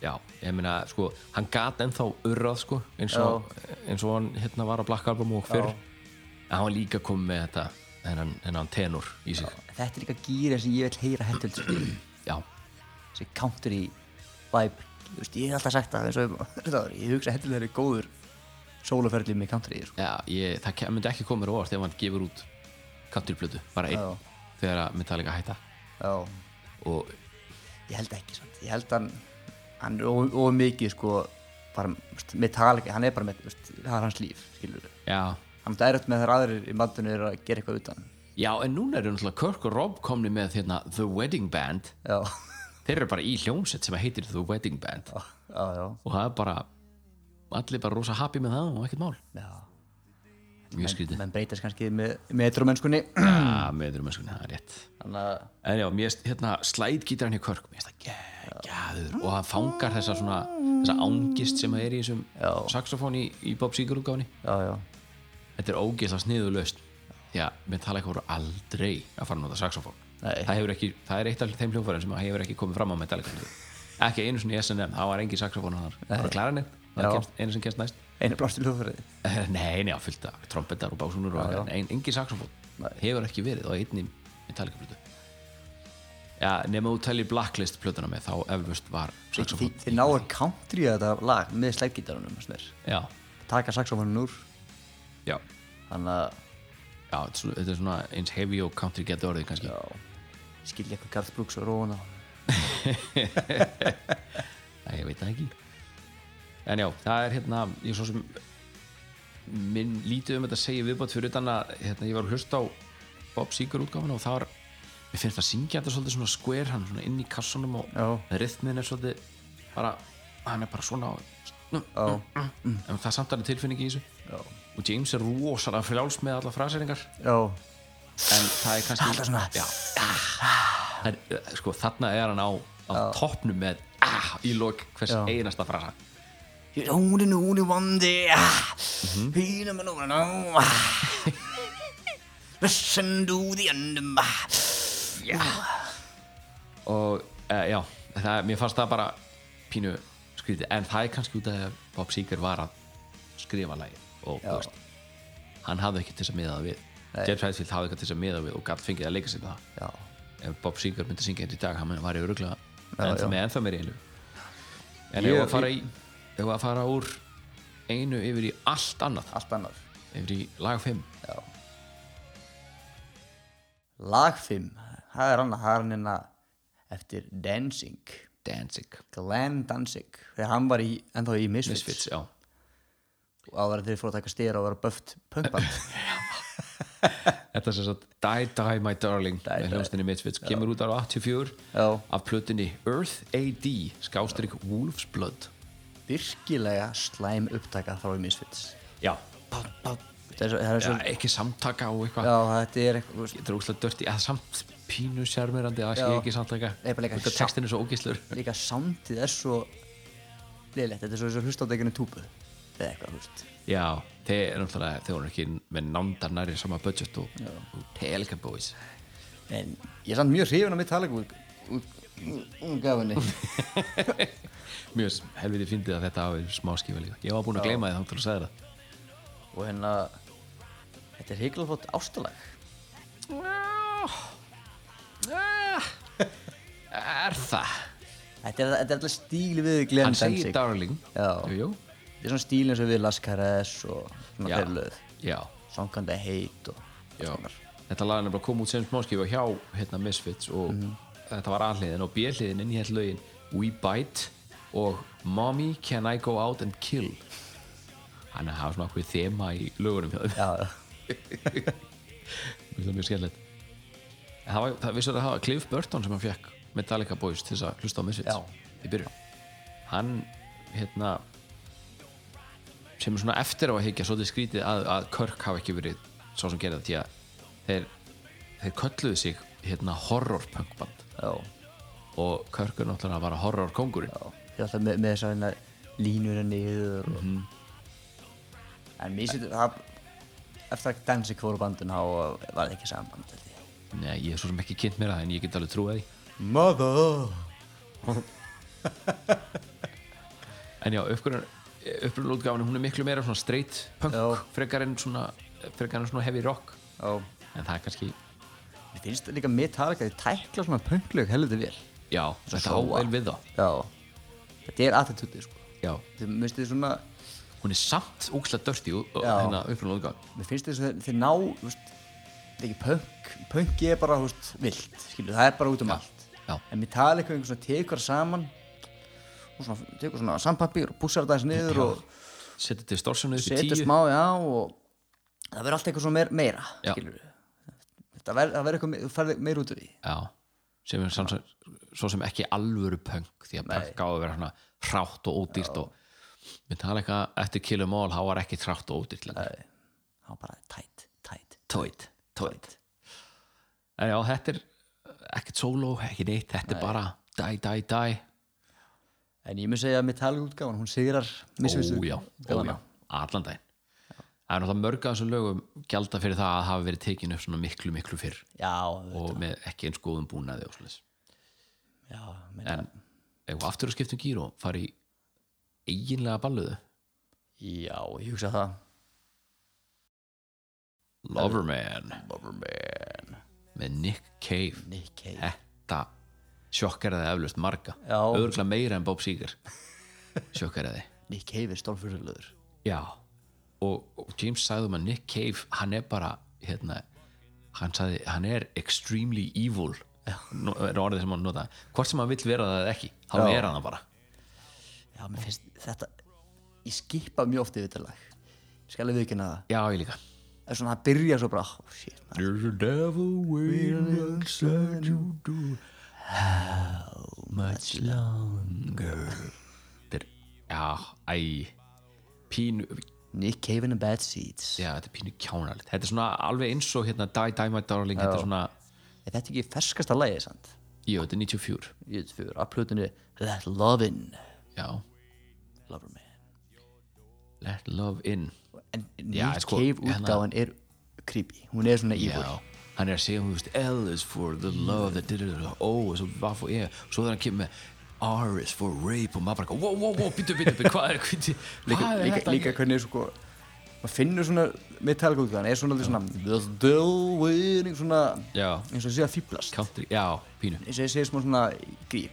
Speaker 7: já, ég meina, sko, hann gat ennþá urrað, sko, eins og, eins og hann hérna var á Black Album og fyrr en hann var líka komið með þetta hennan, hennan tenor í sig
Speaker 6: þetta er líka gýrið sem ég vil heyra hendur þessi
Speaker 7: já,
Speaker 6: country vibe þú veist, ég hef alltaf sagt það eins og það, ég hugsa hendur þeir eru góður sóluferðli með country sko.
Speaker 7: já ég, það ke- myndi ekki koma mér á óvart ef hann gefur út countryplötu, bara einn
Speaker 6: Já.
Speaker 7: þegar að Metallica hætta
Speaker 6: já
Speaker 7: og
Speaker 6: ég held ekki svart. ég held hann hann er of of mikið sko bara veist, Metallica, hann er bara með veist, það er hans líf, skilur við
Speaker 7: já,
Speaker 6: hann er erut með þær aðrir í bandinu eru að gera eitthvað utan
Speaker 7: já, en núna eru náttúrulega Kirk og Rob komni með hérna The Wedding Band
Speaker 6: já,
Speaker 7: þeir eru bara í hljómsett sem heitir The Wedding Band
Speaker 6: já, já,
Speaker 7: og það er bara allir bara rosa happy með það og ekkert mál
Speaker 6: já.
Speaker 7: mjög skrítið
Speaker 6: menn breytast kannski með metromennskunni
Speaker 7: Já, með öðrum mennskunni, það er rétt
Speaker 6: þannig að
Speaker 7: En já, mér, finnst, hérna, slædgítarinn hjá Körk mér finnst það geggjaður og hann fangar þessa svona, þessa ángist sem það er í þessum
Speaker 6: Já.
Speaker 7: saxofón í, í Bob Seger útgáfunni
Speaker 6: já, já,
Speaker 7: Þetta er ógeðslega sniðulöst Já, mér tala eitthvað voru aldrei að fara að nota saxofón
Speaker 6: Nei.
Speaker 7: það, hefur ekki, það er eitt af þeim hljófærin sem hefur ekki komið fram á Metallica Ekki einu sinni í SNM, það var engin saxofón hann bara klarinett, það
Speaker 6: Já.
Speaker 7: er kemst- einu sem kemst næst
Speaker 6: einu blástur hljóðfærið
Speaker 7: Nei, nei, á fullt af trompetar og básunur og
Speaker 6: Já, já.
Speaker 7: en en- engin saxofón hefur ekki verið á einni Metallica plötu Já, nema þú telji Blacklist plötuna með þá eflust var saxofón
Speaker 6: þið náður country að þetta lag með slæggítarunum
Speaker 7: Já,
Speaker 6: taka saxofónun úr
Speaker 7: já,
Speaker 6: þannig að
Speaker 7: já þetta er svona- þetta er svona eins heavy og country getur orðið kannski
Speaker 6: já, skilja eitthvað Garth Brooks og Róna
Speaker 7: Æ, ég veit það ekki En já, það er hérna ég svo sem minn lítið um þetta að segja viðbátt fyrir utan að hérna, ég var að hlusta á Bob Seger útgáfuna og það var mér finnst að syngja þetta svolítið svona square hann svona inn í kassunum og
Speaker 6: Já.
Speaker 7: rithmin er svolítið bara, hann er bara svona og,
Speaker 6: Já.
Speaker 7: en það er samt alveg tilfinning í þessu
Speaker 6: Já.
Speaker 7: og James er rosalega frjáls með alla fraseringar
Speaker 6: já,
Speaker 7: en það er kannski Alltaf svona "Ah." já, það er, sko, þarna er hann á, á toppnum með ah, í lok hvers
Speaker 6: Já.
Speaker 7: einasta frasa
Speaker 6: You're only only one day ah, Hina með núna ná ah. Listen to the end um, ah.
Speaker 7: og uh, já, það, mér fannst það bara pínu skrítið en það er kannski út af því að Bob Seger var að skrifa lagi og þú veist, hann hafði ekki til þess að miða það við James Hetfield hafði ekki til þess að miða það við og galt fengið að leika sér það
Speaker 6: Já,
Speaker 7: ef Bob Seger myndi syngja þetta í dag hann var í örugla
Speaker 6: já.
Speaker 7: með ennþá meiri eilu en
Speaker 6: Ég-
Speaker 7: ef að fara í ef að fara úr einu yfir í allt annað
Speaker 6: allt annar
Speaker 7: yfir í lag 5
Speaker 6: Lag 5 Það er annað, það er hann hérna eftir Dancing
Speaker 7: Danzig
Speaker 6: Glenn Danzig þegar hann var í, ennþá í Misfits,
Speaker 7: Misfits, já
Speaker 6: og áður en þeir fóru að taka stýra og vera böft pömpand
Speaker 7: Þetta er sem sagt Die Die My Darling
Speaker 6: Die,
Speaker 7: með
Speaker 6: Die.
Speaker 7: hljómsdynni Misfits kemur út ára 84
Speaker 6: Já.
Speaker 7: af plötunni Earth AD skástrík Wolf's Blood
Speaker 6: virkilega slæm upptaka frá í Misfits
Speaker 7: Já,
Speaker 6: það er svo, það er
Speaker 7: já
Speaker 6: svo
Speaker 7: ekki samtaka og eitthvað
Speaker 6: já, þetta er eitthvað þú veist,
Speaker 7: Þetta er úslega dörti eða samt pínu sérmerandi að sé
Speaker 6: Já.
Speaker 7: ekki samtaka
Speaker 6: Nei, bara líka
Speaker 7: Þetta
Speaker 6: samt-
Speaker 7: textin er svo ógislur
Speaker 6: líka samtið er svo liðlegt, þetta er svo eins og hlustándeginu túpu eða eitthvað, þú veist
Speaker 7: Já, þeir eru náttúrulega þeir voru ekki með nándar nærri sama budget og, og Telica Boys
Speaker 6: en ég er samt mjög hrifin á mitt talega út, út, út gafinni
Speaker 7: Mjög s- helviti fyndið að þetta hafi smá skifa líka Ég var búinn að gleyma því þá til að segja það
Speaker 6: og hérna þetta er higgilega flott ástalag
Speaker 7: Er það?
Speaker 6: þetta er, þetta er alltaf stíli við Glenn
Speaker 7: Hann
Speaker 6: Danzig
Speaker 7: segir
Speaker 6: þetta
Speaker 7: Darling
Speaker 6: Já.
Speaker 7: Jú, jú.
Speaker 6: er svona stíli eins og við Las Cares og svona
Speaker 7: Já.
Speaker 6: fyrirlöð
Speaker 7: Já,
Speaker 6: sangandi heit og
Speaker 7: já Þetta lag er nefnilega kom út sem smáskifa hjá hérna, Misfits og þetta var aðliðin og bjöliðin inn í hérna lögin We Bite og Mommy Can I Go Out and Kill Hann er að hafa svona okkur þema í lögunum hjá þeim
Speaker 6: já, já.
Speaker 7: Mér finnst það mjög skemmtilegt En Það var, það vissur að það var Cliff Burton sem hann fekk Metallica Boys til þess að hlusta á Misfits í byrjun Hann, hérna sem er svona eftir á að higgja svolítið skrítið að, að Kirk hafi ekki verið svo sem gerði það því að þeir, þeir kölluðu sig hérna horrorpunkband
Speaker 6: já.
Speaker 7: og Kirk er náttúrulega að vara horrorkongurinn
Speaker 6: já. Þeir eru alltaf með, með þess að hérna línur henni yfir og... en mér sýttu það eftir að dansi kvóru bandun þá var það ekki samband held ég.
Speaker 7: Nei, ég er svo sem ekki kynnt mér það en ég get alveg trúið því
Speaker 6: Mother
Speaker 7: En já, upprunalútgáfinu, hún er miklu meira svona straight punk,
Speaker 6: Já.
Speaker 7: frekar en svona frekar en svona heavy rock
Speaker 6: Já,
Speaker 7: en það er kannski,
Speaker 6: mér finnst líka Metallica þau tækla svona pönglög heldur vel
Speaker 7: já, þetta á
Speaker 6: sóa.
Speaker 7: vel við þá
Speaker 6: Já, þetta er attitúti sko
Speaker 7: já.
Speaker 6: Þau minnst þið svona,
Speaker 7: hún er samt úkslega dörti
Speaker 6: Já.
Speaker 7: hérna upprunalútgáfinu
Speaker 6: mér finnst þið svona þeir ná, þú veist það er ekki pönk, pönki er bara, þú veist, vilt skilur, það er bara út um allt
Speaker 7: já.
Speaker 6: en Metallica einhvern svona tekur það saman og svona, tekur svona sampapir og pússar það aðeins niður og
Speaker 7: setur distortionið upp í
Speaker 6: setur
Speaker 7: tíu
Speaker 6: smá já og það verður allt eitthvað svona meir, meira
Speaker 7: Já.
Speaker 6: skilur það verður það verður eitthvað, me- þú ferði meir út úr því
Speaker 7: já, sem er sanns, svo sem ekki alvöru punk því að punk á að vera svona hrátt og ódýrt og við tala eitthvað eftir Kill Em All, þá var ekki hrátt og ódýrt lengur.
Speaker 6: það það var bara tætt, tætt, tóitt, tóitt
Speaker 7: En já, þetta er ekkert solo, ekkert neitt, þetta er bara dæ, dæ, dæ
Speaker 6: en ég mun segja að Metallica útgáfan, hún sigrar missvistu
Speaker 7: Ó já, ó já, allan daginn Það er náttúrulega mörg af þessum lögum gjalda fyrir það að hafa verið tekin upp svona miklu, miklu fyrr
Speaker 6: já,
Speaker 7: og með ekki eins góðum búnaði og svoleiðis
Speaker 6: já, meina,
Speaker 7: En ef þú aftur að skipta um gír og fara í eiginlega balluðu
Speaker 6: já, ég hugsa það
Speaker 7: Loverman
Speaker 6: Loverman
Speaker 7: með Nick Cave
Speaker 6: Nick Cave
Speaker 7: Þetta sjokkaraði eflaust marga
Speaker 6: Já.
Speaker 7: Örgla meira en Bob Seger Sjokkaraði
Speaker 6: Nick Cave er stórfyrirlöður
Speaker 7: Já og, og James sagði um að Nick Cave hann er bara hérna, hann, sagði, hann er extremely evil Nú- er orðið sem hann nota hvort sem hann vill vera það eða ekki þá
Speaker 6: Já.
Speaker 7: er hann það bara
Speaker 6: já, mér finnst þetta ég skipa mjög oft yfir þetta lag ég skal alveg viðkynna það
Speaker 7: Já, ég líka
Speaker 6: það er svona að byrja svo bara oh, shit, man.
Speaker 7: There's a devil waiting inside you do How much longer Þetta er, já, æ Pínu,
Speaker 6: Nick Cave in the bad seats
Speaker 7: já, þetta er pínu kjánalegt Þetta er svona alveg eins og hérna Die Die My Darling Þetta er svona,
Speaker 6: er þetta ekki ferskasta lagið sant?
Speaker 7: jú, þetta er 94
Speaker 6: ég veit fyrir að plötunni That Lovin'
Speaker 7: Já,
Speaker 6: Loverman
Speaker 7: Let Love In
Speaker 6: en Nick
Speaker 7: Já, sko,
Speaker 6: Cave
Speaker 7: hérna-
Speaker 6: útgáfan er creepy hún er svona evil
Speaker 7: Já, hann er að segja, þú veist, L is for the love that did it, O is for what for, yeah Svo þegar hann kemur með R is for rape og maður bara, wow, wow, wow, býttu, býttu, býttu, hvað er, hvað er,
Speaker 6: líka, líka, líka hvernig sko maður finnur svona Metallica útgáfan er svona, alveg svona The Devil Waiting svona
Speaker 7: Já.
Speaker 6: eins og sé að fýblast
Speaker 7: Country, já, pínu
Speaker 6: eins og ég segi smá svona grí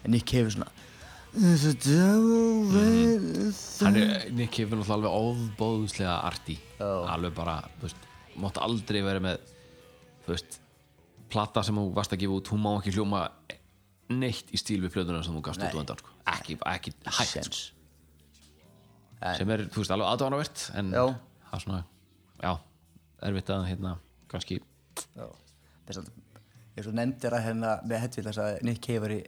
Speaker 6: en Nick Cave er svona The devil wears
Speaker 7: hann er, Nick Cave er náttúrulega alveg óbóðslega arti alveg bara, þú veist, mátt aldrei vera með þú veist plata sem hún varst að gefa út, hún má ekki hljóma neitt í stíl við plöðuna sem hún gafst út og undan, sko. ekki, ekki hægt, sko.
Speaker 6: sense.
Speaker 7: sem er, þú veist, alveg aðdánavert en
Speaker 6: Já.
Speaker 7: það er svona, já erfitt að, hérna, kannski
Speaker 6: Já. Þess að ég svo nefndir að hérna með hættvill þess að Nick Cave er í,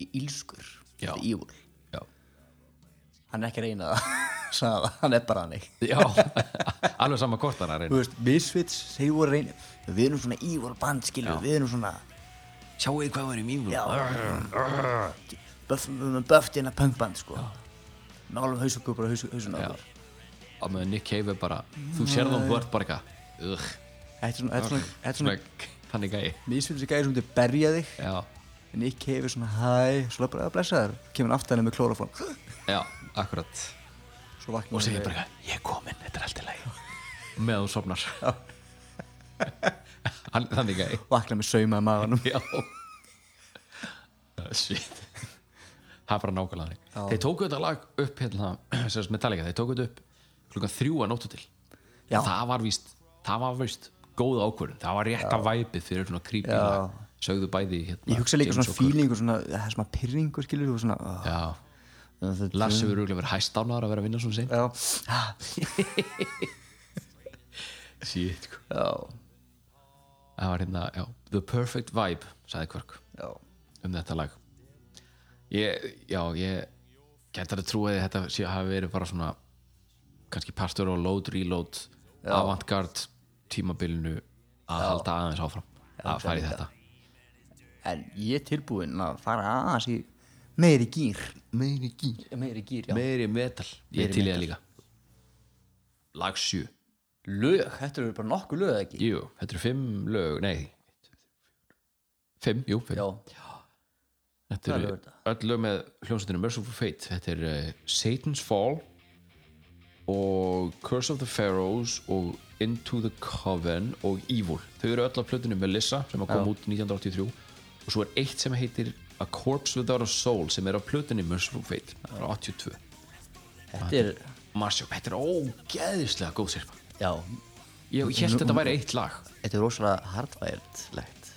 Speaker 6: í ílskur
Speaker 7: Já.
Speaker 6: Þetta er evil.
Speaker 7: já,
Speaker 6: hann er ekki að reyna það sagði það, hann er bara þannig
Speaker 7: já alveg sama hvort hann er
Speaker 6: þú
Speaker 7: einu
Speaker 6: veist, Misfits, þeir voru að reyna við erum svona evil band, skilju, við erum svona
Speaker 7: sjáu þið hvað verið mjög
Speaker 6: buff, við erum bufft inn að punkband, sko nálum hausakupur og hausun okkur
Speaker 7: og með Nick Cave er bara, þú sér það um hvort bara eitthvað ugh,
Speaker 6: þetta er svona, þetta er svona, þetta er svona
Speaker 7: svona, þannig gæi
Speaker 6: Misfits er gæði sem þau berja þig
Speaker 7: já,
Speaker 6: en Nick Cave er svona, hæ, svo bara að blessa þér kemur hann aftan henni með klóraform
Speaker 7: já, akkurat
Speaker 6: svo vaknar
Speaker 7: og segir
Speaker 6: hann við-
Speaker 7: bara eitthvað, ég er komin, þetta er allt í lagi með þú sopnar Hann- þannig gæi
Speaker 6: vaknar með sauma í maganum
Speaker 7: já Uh, shit það er bara nákvæmlega þannig þeir tóku þetta lag upp hérna, sem sagt Metallica, þeir tóku þetta upp klukkan þrjú að nóttu til
Speaker 6: Já.
Speaker 7: það var víst, það var víst góð ákvörðin, það var rétta væpið fyrir svona creepy lag, sögðu bæði hérna,
Speaker 6: ég hugsa líka
Speaker 7: James
Speaker 6: svona
Speaker 7: og Kurt.
Speaker 6: feelingu svona, það er svona pyrringu skilur þú svona oh,
Speaker 7: já,
Speaker 6: þetta-
Speaker 7: Lars hefur örugglega verið hæst ánæður að vera að vinna svona
Speaker 6: já,
Speaker 7: sein shit, sko.
Speaker 6: já,
Speaker 7: það var hérna, já, The Perfect Vibe sagði Kvörk
Speaker 6: já
Speaker 7: um þetta lag ég, já, ég getur að trúa að þetta sé, hafi verið bara svona kannski partur og load, reload avantgard tímabilinu að halda aðeins áfram að fara í þetta
Speaker 6: en ég er tilbúinn að fara aðeins í meiri gýr meiri gýr, meiri gýr, já
Speaker 7: meiri metal, ég
Speaker 6: Meiri
Speaker 7: til ég
Speaker 6: metal.
Speaker 7: líka lag 7
Speaker 6: lög, þetta eru bara nokkuð lög eða ekki
Speaker 7: jú, þetta eru 5 lög, nei 5, jú, 5
Speaker 6: já,
Speaker 7: Þetta
Speaker 6: Hvaða
Speaker 7: eru
Speaker 6: lög er
Speaker 7: öll lög með hljómsveitinu Merciful Fate Þetta er uh, Satan's Fall og Curse of the Pharaohs og Into the Coven og Evil Þau eru öll á plötinu Melissa sem að koma út 1983 og svo er eitt sem heitir A Corpse Without a Soul sem er á plötinu Merciful Fate Það er á 82
Speaker 6: þetta er
Speaker 7: Marsjó, þetta er ógeðislega góð sérfa
Speaker 6: já,
Speaker 7: Ég held þetta væri eitt lag
Speaker 6: þetta er rosalega hardwired legt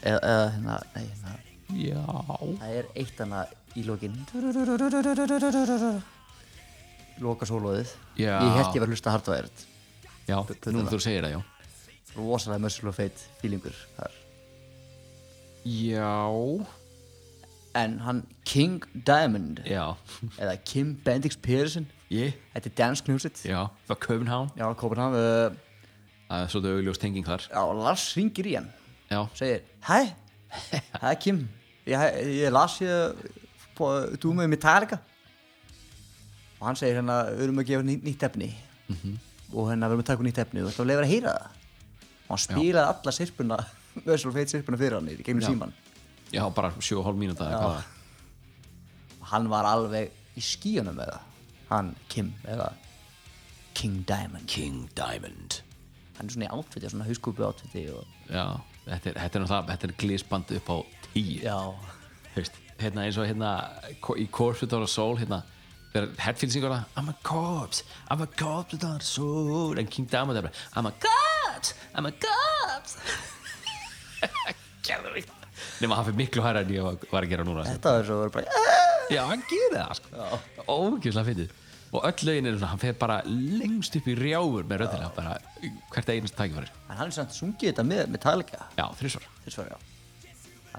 Speaker 6: eða, eða hérna, nei, hérna
Speaker 7: Já
Speaker 6: það er eitt hana í lokin loka sólóðið
Speaker 7: Já.
Speaker 6: ég held ég var að hlusta á hardwired
Speaker 7: Já, núna þú segir það, já
Speaker 6: rosalega mössulega feitt fílingur þar
Speaker 7: Já
Speaker 6: en hann King Diamond
Speaker 7: Já,
Speaker 6: eða Kim Bendix Pearson
Speaker 7: ég,
Speaker 6: þetta er dansk hljómsveit
Speaker 7: já, frá Köpenhavn
Speaker 6: já, Kopenham uh,
Speaker 7: Það er svolítið augljós tenging þar
Speaker 6: já, Lars ringir í hann
Speaker 7: Já,
Speaker 6: segir, hæ, hæ Kim ég, ég las ég på dúmið Metallica og hann segir hérna við erum að gefa ný, nýtt efni og hérna við erum að taka nýtt efni og ætlum að leifa að heyra það og hann spilaði alla sirpuna Vessel Fate sirpuna fyrir hann í gegnum síman
Speaker 7: já bara 7,5 mínúta eða hvað það er.
Speaker 6: og hann var alveg í skíunum með það hann Kim eða King Diamond
Speaker 7: King Diamond
Speaker 6: hann er svona í átfiti, svona hauskúpu átfiti og
Speaker 7: Já, þetta er, þetta er náttúrulega, þetta er glísband upp á 10
Speaker 6: já,
Speaker 7: Heist, hérna eins og hérna ko- í Corpse Without a Soul hérna, þegar Hetfield syngur það I'm a corpse, I'm a corpse without a soul en King Diamond er bara I'm a corpse, I'm a corpse Gerðu við Nefnum að hann fyrir miklu hæra en ég var var að gera núna
Speaker 6: þetta var svo bara
Speaker 7: Já, hann gerir það sko. Ógjöfslega fyndið Og öll lögin er svona, hann fer bara lengst upp í rjáfur með röddina, bara hvert einast tækifæri
Speaker 6: en hann er samt sungið þetta með Metallica
Speaker 7: Já, þrísvar
Speaker 6: þess var já Það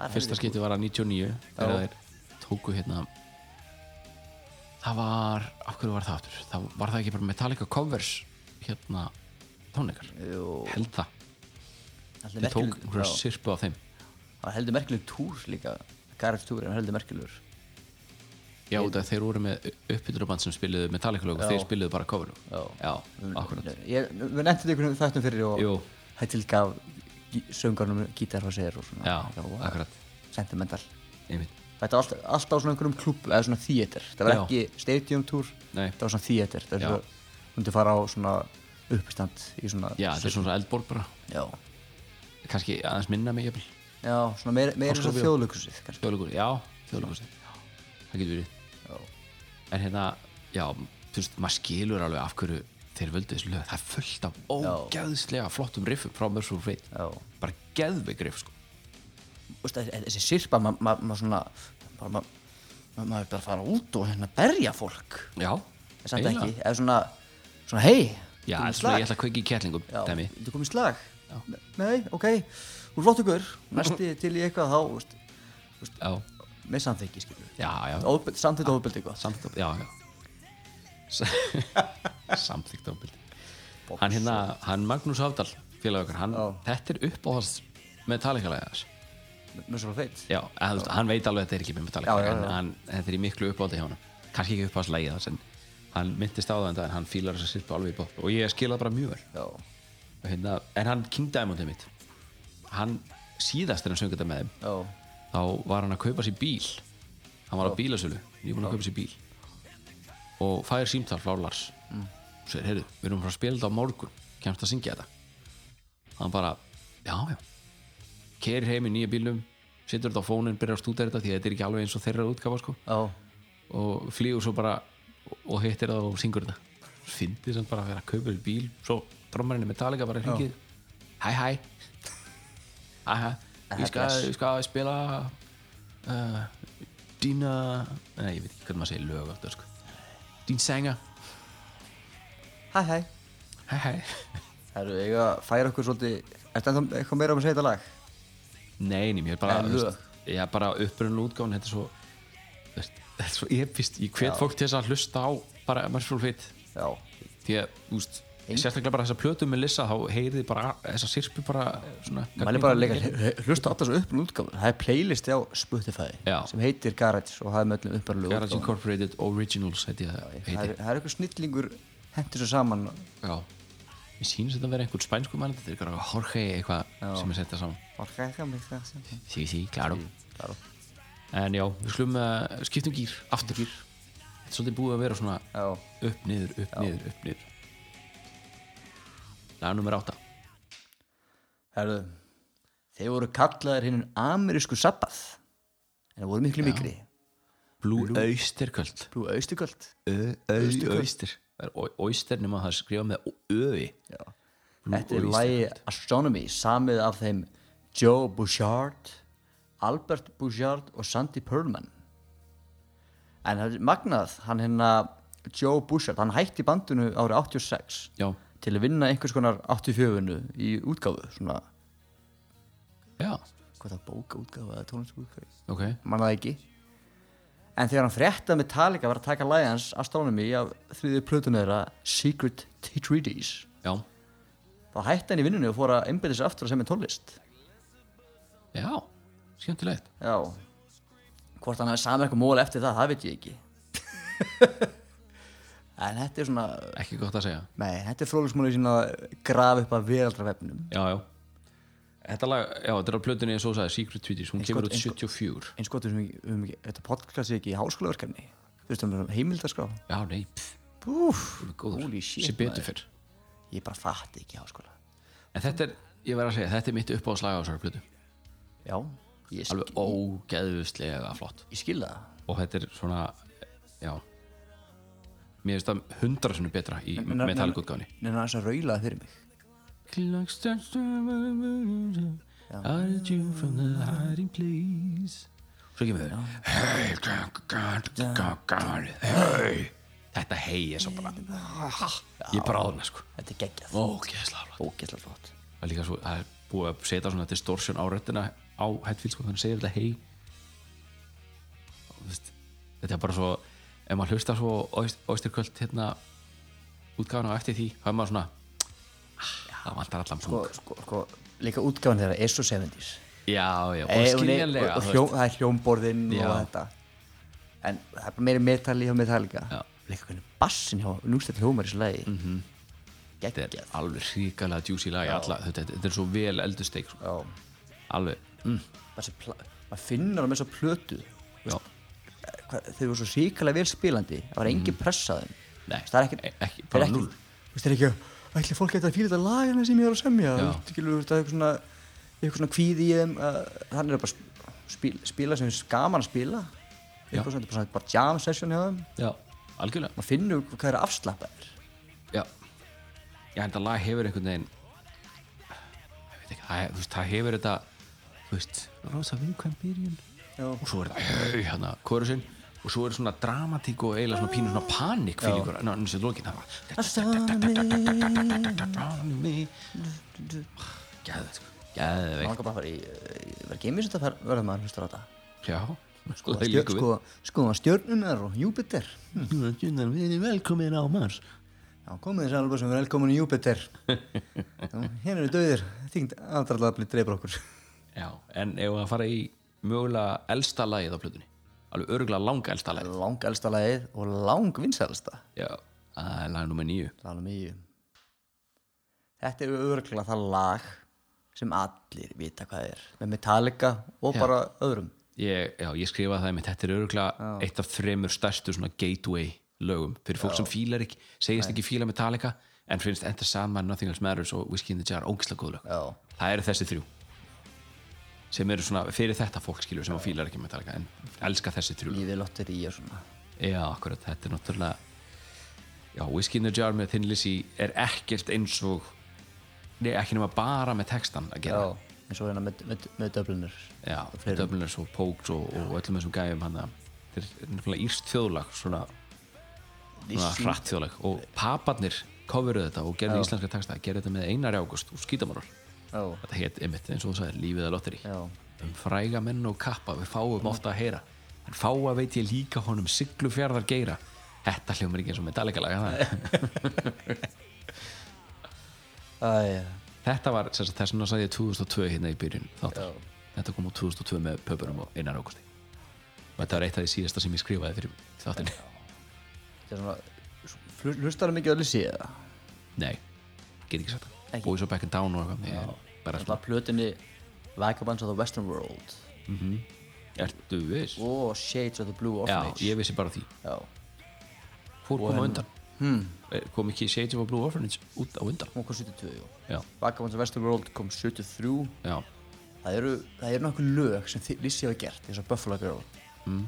Speaker 6: er
Speaker 7: Fyrsta
Speaker 6: helviti
Speaker 7: skipti var að 99
Speaker 6: Já.
Speaker 7: þegar þeir tóku hérna það var af hverju var það aftur? Það var það ekki bara Metallica covers hérna tónleikar
Speaker 6: Jú.
Speaker 7: held það,
Speaker 6: cool. Heldur
Speaker 7: þeir tók
Speaker 6: merkilegur-
Speaker 7: einhverja
Speaker 6: já,
Speaker 7: sirpu af þeim
Speaker 6: það var heldur merkilegur túr líka Gareth túr en heldur merkilegur
Speaker 7: já, út af þeir voru með uppbytturaband sem spiluðu Metallica lög og þeir spiluðu bara cover lög.
Speaker 6: Já.
Speaker 7: já, akkurat
Speaker 6: ég, við nefndum þetta ykkur um þættum fyrir og
Speaker 7: Jú.
Speaker 6: hættil gaf söngarnum gítar og segir og svona
Speaker 7: Já,
Speaker 6: og-
Speaker 7: akkurat.
Speaker 6: sentimental
Speaker 7: einmitt,
Speaker 6: þetta var alltaf, alltaf á svona einhverjum klub eða svona theater, þetta var
Speaker 7: Já.
Speaker 6: ekki stadium tour
Speaker 7: Nei.
Speaker 6: þetta var svona theater þetta
Speaker 7: Já.
Speaker 6: var svona, hundi fara á svona uppistand í svona
Speaker 7: já, þetta er svona eldborg bara
Speaker 6: já,
Speaker 7: kannski aðeins minna mig jafnvel
Speaker 6: já svona meira, meira svona
Speaker 7: Háskólabíó.
Speaker 6: þjóðlökusið kannski
Speaker 7: Þjóðleikur, já, þjóðleikur Það getur verið En hérna, já, þú veist, maður skilur alveg af hverju þeir völdu þessu lög Það er fullt af ógeðslega flottum riffum frá Mörsur og Freit
Speaker 6: Já.
Speaker 7: Bara geðveik riff, sko
Speaker 6: Úst, þessi sirpa, ma- ma- maður svona bara ma- ma- maður er bara að fara út og hérna berja fólk
Speaker 7: Já,
Speaker 6: En samt ekki, eða svona, svona hei
Speaker 7: Já,
Speaker 6: þú komið
Speaker 7: svona,
Speaker 6: slag.
Speaker 7: ég ætla að kveiki í kettlingum,
Speaker 6: Já,
Speaker 7: dæmi
Speaker 6: Þú komið slag Nei, ok, þú er flott ykkur Næsti til í eitthvað þá úst,
Speaker 7: Já,
Speaker 6: með samþykki skilur
Speaker 7: já, já,
Speaker 6: Samþykkt og ofbeldi eitthvað
Speaker 7: samþykkt Já, já S- Samþykkt ábyrð Hann hérna, hann Magnús Hafdal félag okkar, hann,
Speaker 6: Já.
Speaker 7: þetta er uppáhalds með talikalegaðars
Speaker 6: Með svo feitt
Speaker 7: Já, að, þú veist, hann veit alveg að þetta er ekki með Metallica
Speaker 6: Já, já, já.
Speaker 7: en hann, þetta er í miklu uppáhaldi hjá hann kannski ekki uppáhaldslegið þess en hann myndist á það en hann fílar þess að sirpa alveg í bótt og ég skil það bara mjög vel
Speaker 6: Já,
Speaker 7: Og hérna, en hann King Diamond er mitt hann síðast þegar hann söng þetta með þeim
Speaker 6: já,
Speaker 7: þá var hann að kaupa sér bíl hann var á bílasölu, ég búin að kaupa sér bíl og fær símtal frá Lars
Speaker 6: Mm.
Speaker 7: og segir, heyrðu, við erum frá að spila þetta á morgun kemst að syngja þetta hann bara, já, já kerir heim í nýja bílum setur þetta á fónin, byrjar að stúta þetta því að þetta er ekki alveg eins og þeirra útgafa sko
Speaker 6: já
Speaker 7: og flýgur svo bara og hittir það og syngur þetta fyndið samt bara að vera að kaupa þér bíl svo drömmarinn er Metallica bara hringið hæ hæ hæ hæ ég skal, ég skal spila uh, dína nei ég veit ekki hvernig maður segir lög aftur sko. dín senga
Speaker 6: Hæ, hæ
Speaker 7: hæ hæ
Speaker 6: Það eru eiga að færa okkur svolítið Er þetta eitthvað meira um að segja þetta lag?
Speaker 7: nei nei mér er bara
Speaker 6: Nei,
Speaker 7: þú
Speaker 6: lög.
Speaker 7: veist, ég er bara upprunn útgáðan þetta er svo þú veist, þetta er svo epist ég hvet fólk til þess að hlusta á bara Marshall Fit
Speaker 6: Já
Speaker 7: því að, úst, sérstaklega bara þessa plötu með Lissa þá heyrið bara þessa sirpu bara svona,
Speaker 6: Mæli bara að leika Hlusta alltaf svo upp um útgáfun Það er playlisti á Spotify
Speaker 7: Já.
Speaker 6: sem heitir Garage og það er með öllum upparlegu
Speaker 7: Garage Incorporated Originals heiti það
Speaker 6: sko. Það
Speaker 7: heiti.
Speaker 6: er- það er eitthvað snillingur hendur svo saman
Speaker 7: Já. Mér sýnist þetta að vera einhvern spænsku mann þetta er eitthvað Jorge eitthvað sem er setta saman
Speaker 6: Orka eitthvað með það saman
Speaker 7: sí, sí, klaro
Speaker 6: Claro.
Speaker 7: en já, við slum uh, skiptum gýr aftur gýr þetta er svolítið búið að vera svona
Speaker 6: Já.
Speaker 7: upp, niður, upp, niður, upp, niður lag nummer átta
Speaker 6: Herðu, þeir voru kallaðir hinn amerísku sabbað en það voru miklu mikri
Speaker 7: Blue, Blue. Austerköld
Speaker 6: Blú austurköld
Speaker 7: Auster Auster nema það er skrifað með öi Blue
Speaker 6: Þetta er
Speaker 7: Oyster
Speaker 6: lagi Astronomy samið af þeim Joe Bouchard Albert Bouchard og Sandy Perlman en það er magnað hann hérna Joe Bouchard, hann hætti bandinu árið 86
Speaker 7: Já.
Speaker 6: til að vinna einhvers konar 84-unu í útgáfu svona,
Speaker 7: Já,
Speaker 6: hvað er það, bókaútgáfu eða tónlistútgáfu
Speaker 7: ok
Speaker 6: manna það ekki en þegar hann frétta með Metallica var að taka lagið hans Astronomy af þriðið plötunni þeirra Secret Treaties
Speaker 7: já,
Speaker 6: þá hætti hann í vinnunni og fór að einbyrða sér aftur að semja tónlist
Speaker 7: já, skemmtilegt
Speaker 6: já hvort hann hafi samið eitthvað mól eftir það, það veit ég ekki en þetta er svona
Speaker 7: ekki gott að segja
Speaker 6: nei, þetta er fróðlegsmólið sín að grafa upp að veraldrafefnum
Speaker 7: já, já Þetta lag, já, þetta er á plötunni eins og sagði Secret Tweeties, hún kemur út
Speaker 6: gott, eins
Speaker 7: 74
Speaker 6: eins gott við höfum ekki, við höfum ekki þetta podcast er ekki í háskólaverkefni þú veist, um heimildaskrá
Speaker 7: Já, nei, pff,
Speaker 6: Úf,
Speaker 7: góður,
Speaker 6: holy shit
Speaker 7: sem betur
Speaker 6: maður.
Speaker 7: fyrr
Speaker 6: ég bara fatti ekki háskóla
Speaker 7: En þetta er, ég verð að segja, þetta er mitt uppáðslag á þessari plötu
Speaker 6: já, ég, skil,
Speaker 7: Alveg ógeðuslega flott
Speaker 6: ég skil það
Speaker 7: Og þetta er svona, já Mér finnst það hundra svona betra í
Speaker 6: en-
Speaker 7: metallgutgáni
Speaker 6: en það er að raula það fyrir mig
Speaker 7: I did you from the hiding place Svo kemur þau Hey, God, God, God, God Hey Þetta hei er svo bara Ég bráðna sko
Speaker 6: þetta er geggjað,
Speaker 7: Ógeðslega flott
Speaker 6: ógeðslega flott
Speaker 7: Það er líka svo, það er búið að setja svona distortion á röddina á Hetfield sko, þannig segir þetta hei Og þú veist, Þetta er bara svo ef maður hlustar svo Oysterköld hérna útgáðan á eftir því, þá er maður svona "Ah, Það vantar allan
Speaker 6: sko,
Speaker 7: fung
Speaker 6: sko, sko, líka útgáfan þeirra er svo 70s
Speaker 7: Já, já,
Speaker 6: Eh,
Speaker 7: og
Speaker 6: hún er-
Speaker 7: skiljanlega
Speaker 6: og
Speaker 7: þú
Speaker 6: hljó,
Speaker 7: veist.
Speaker 6: það er hljómborðin
Speaker 7: Já.
Speaker 6: og þetta en það er bara meira metall í hjá Metallica
Speaker 7: Já. Mhm.
Speaker 6: líka hvernig bassin hjá nústætt hljómar í þessu lagi mm -hmm.
Speaker 7: Þetta er
Speaker 6: geggjað
Speaker 7: alveg ríkalega djúsi lag í alla, þetta, þetta er svo vel eldursteik sko.
Speaker 6: Já.
Speaker 7: Alveg, mm,
Speaker 6: Bara þessi pla- maður finnur það með þessu plötu
Speaker 7: já
Speaker 6: hvað, þau voru svo síkilega vel spilandi það var engin pressa á þeim
Speaker 7: Mhm. Nei,
Speaker 6: það er ekkert
Speaker 7: e- ekki,
Speaker 6: það er
Speaker 7: bara
Speaker 6: ekki,
Speaker 7: núll.
Speaker 6: þú veist, það er ekki að ætli fólk eitthvað að fíla þetta lagina sem ég er að semja
Speaker 7: Já.
Speaker 6: Þú veist, skilur, þú veist, það er eitthvað svona eitthvað svona kvíði í þeim að þannig er bara spil, spila sem er gaman að spila
Speaker 7: Já.
Speaker 6: eitthvað svona, þetta er bara svona bara jam session hjá þeim
Speaker 7: Já, algjörlega
Speaker 6: maður finnur hvað er afslappaðir
Speaker 7: Já, já þetta lag hefur einhvern veginn Ég veit ekki, það, þú veist, það hefur þetta Þú veist, rosa vinkvæm byrjun
Speaker 6: Já.
Speaker 7: Og svo er þetta, hei, hérna, kórusinn Og svo er svona dramatík og eiginlega svona pínu svona panik Fylgur, ná, eins og lókin Það var Gæðið, sko
Speaker 6: maður
Speaker 7: Gæðið,
Speaker 6: langar bara að fara í, eh, í verða geimis þetta verða maður hlustar á þetta
Speaker 7: já Sko, það
Speaker 6: Stjör-
Speaker 7: líka við
Speaker 6: sko, sko stjörnunar og Júpiter
Speaker 7: Stjórnar, við erum velkomin á Mars
Speaker 6: Já, komið þið sælum sem er velkomin í Júpiter Hérna eru döðir Þingd aðdraðlega dreifur okkur
Speaker 7: Já, en ef að fara í mögulega elsta lagið á plötunni Alveg örgulega langa elsta lagið
Speaker 6: Lang elsta lagið og lang vinsælsta
Speaker 7: Já, það er lag nummer nýju
Speaker 6: Það er alveg mjög um Þetta er örglega það lag sem allir vita hvað er með Metallica og
Speaker 7: Já.
Speaker 6: bara öðrum
Speaker 7: ég, Já, ég skrifaði það mitt Þetta er örgulega eitt af þremur stærstu svona gateway lögum fyrir fólk sem fílar ekki, segist ekki fíla Metallica en finnst Enter Sandman, Nothing Else Matters og Whiskey in the Jar ógislega góð lög
Speaker 6: Já.
Speaker 7: Það eru þessi þrjú sem eru svona fyrir þetta fólk skilur sem fílar ekki Metallica en elska þessi þrjú lög
Speaker 6: lífið lottir í og svona
Speaker 7: Já, akkurat, þetta er náttúrulega Já, Whiskey in the Jar með Thin Lizzy er ekkert eins og Nei, ekki nema bara með textan að gera
Speaker 6: Já, eins og hérna með, með, með döflunur
Speaker 7: Já,
Speaker 6: Og fleirum.
Speaker 7: Dubliners og Pokes og, og öllum þessum gæfum hann Þetta er náttúrulega írst þjóðlag svona, svona hratt þjóðlag og paparnir coveruðu þetta og gerðu íslenska texta gerðu þetta með Einar Ágúst og Skítamarol
Speaker 6: Já,
Speaker 7: Þetta hétt einmitt eins og þú sagðir lífið að lotteri
Speaker 6: Já.
Speaker 7: um fræga menn og kappa við fáum ofta að heyra en fáa veit ég líka honum siglu fjárðar geira Þetta hljómar ekki eins og Metallica laga það
Speaker 6: Æja,
Speaker 7: Þetta var, sem sagt, þess vegna sagði ég 2002 hérna í byrjun þáttar. Þetta kom úr 2002 með Pöpurum og Einar Águsti. Og þetta var eitt af því síðasta sem ég skrifaði fyrir þáttinu.
Speaker 6: þetta er svona flu- Hlustar það mikið öllu síða það
Speaker 7: Nei, get ekki sagt það.
Speaker 6: Ekki.
Speaker 7: Boys are back and down og eitthvað. Ég er Bara
Speaker 6: Það
Speaker 7: svona,
Speaker 6: er plötunni Vagabonds of the Western World
Speaker 7: ertu viss?
Speaker 6: og Shades of the Blue
Speaker 7: Já,
Speaker 6: Orphanage
Speaker 7: ég vissi bara því.
Speaker 6: Já,
Speaker 7: Fór kom á undan. Hmm. Kom ekki Shades of a Blue Orphanage út á undan.
Speaker 6: hún kom 72 jú.
Speaker 7: Já,
Speaker 6: Vagabonds of Western World kom 73
Speaker 7: já,
Speaker 6: Það eru, það eru nokkuð lög sem þið Lissi hafa gert eins og Buffalo Girl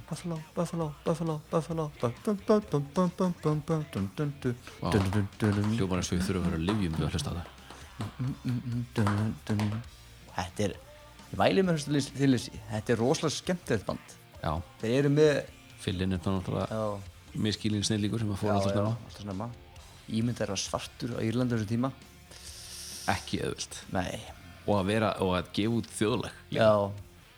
Speaker 6: Buffalo, Buffalo, Buffalo, Buffalo bum, bum, bum, bum, bum, bum, bum, bum, dun, dun, dun,
Speaker 7: Vá.
Speaker 6: dun, dun, dun, dun,
Speaker 7: hljómar eins og við þurfum að vera að livjum við að hlusta á það.
Speaker 6: dun, dun, dun. Þetta er Ég væli með þessu til Lissi Þetta er rosalega skemmtilegt band
Speaker 7: Já,
Speaker 6: Þeir eru með
Speaker 7: fyllin er það náttúrulega
Speaker 6: Já,
Speaker 7: miskilin snillíkur sem að fór
Speaker 6: já,
Speaker 7: alltaf
Speaker 6: já,
Speaker 7: snemma.
Speaker 6: alltaf snemma Ímyndar að svartur á Írlandi á þessum tíma
Speaker 7: Ekki öðvöld.
Speaker 6: Nei,
Speaker 7: Og að vera, og að gefa út þjóðlag.
Speaker 6: já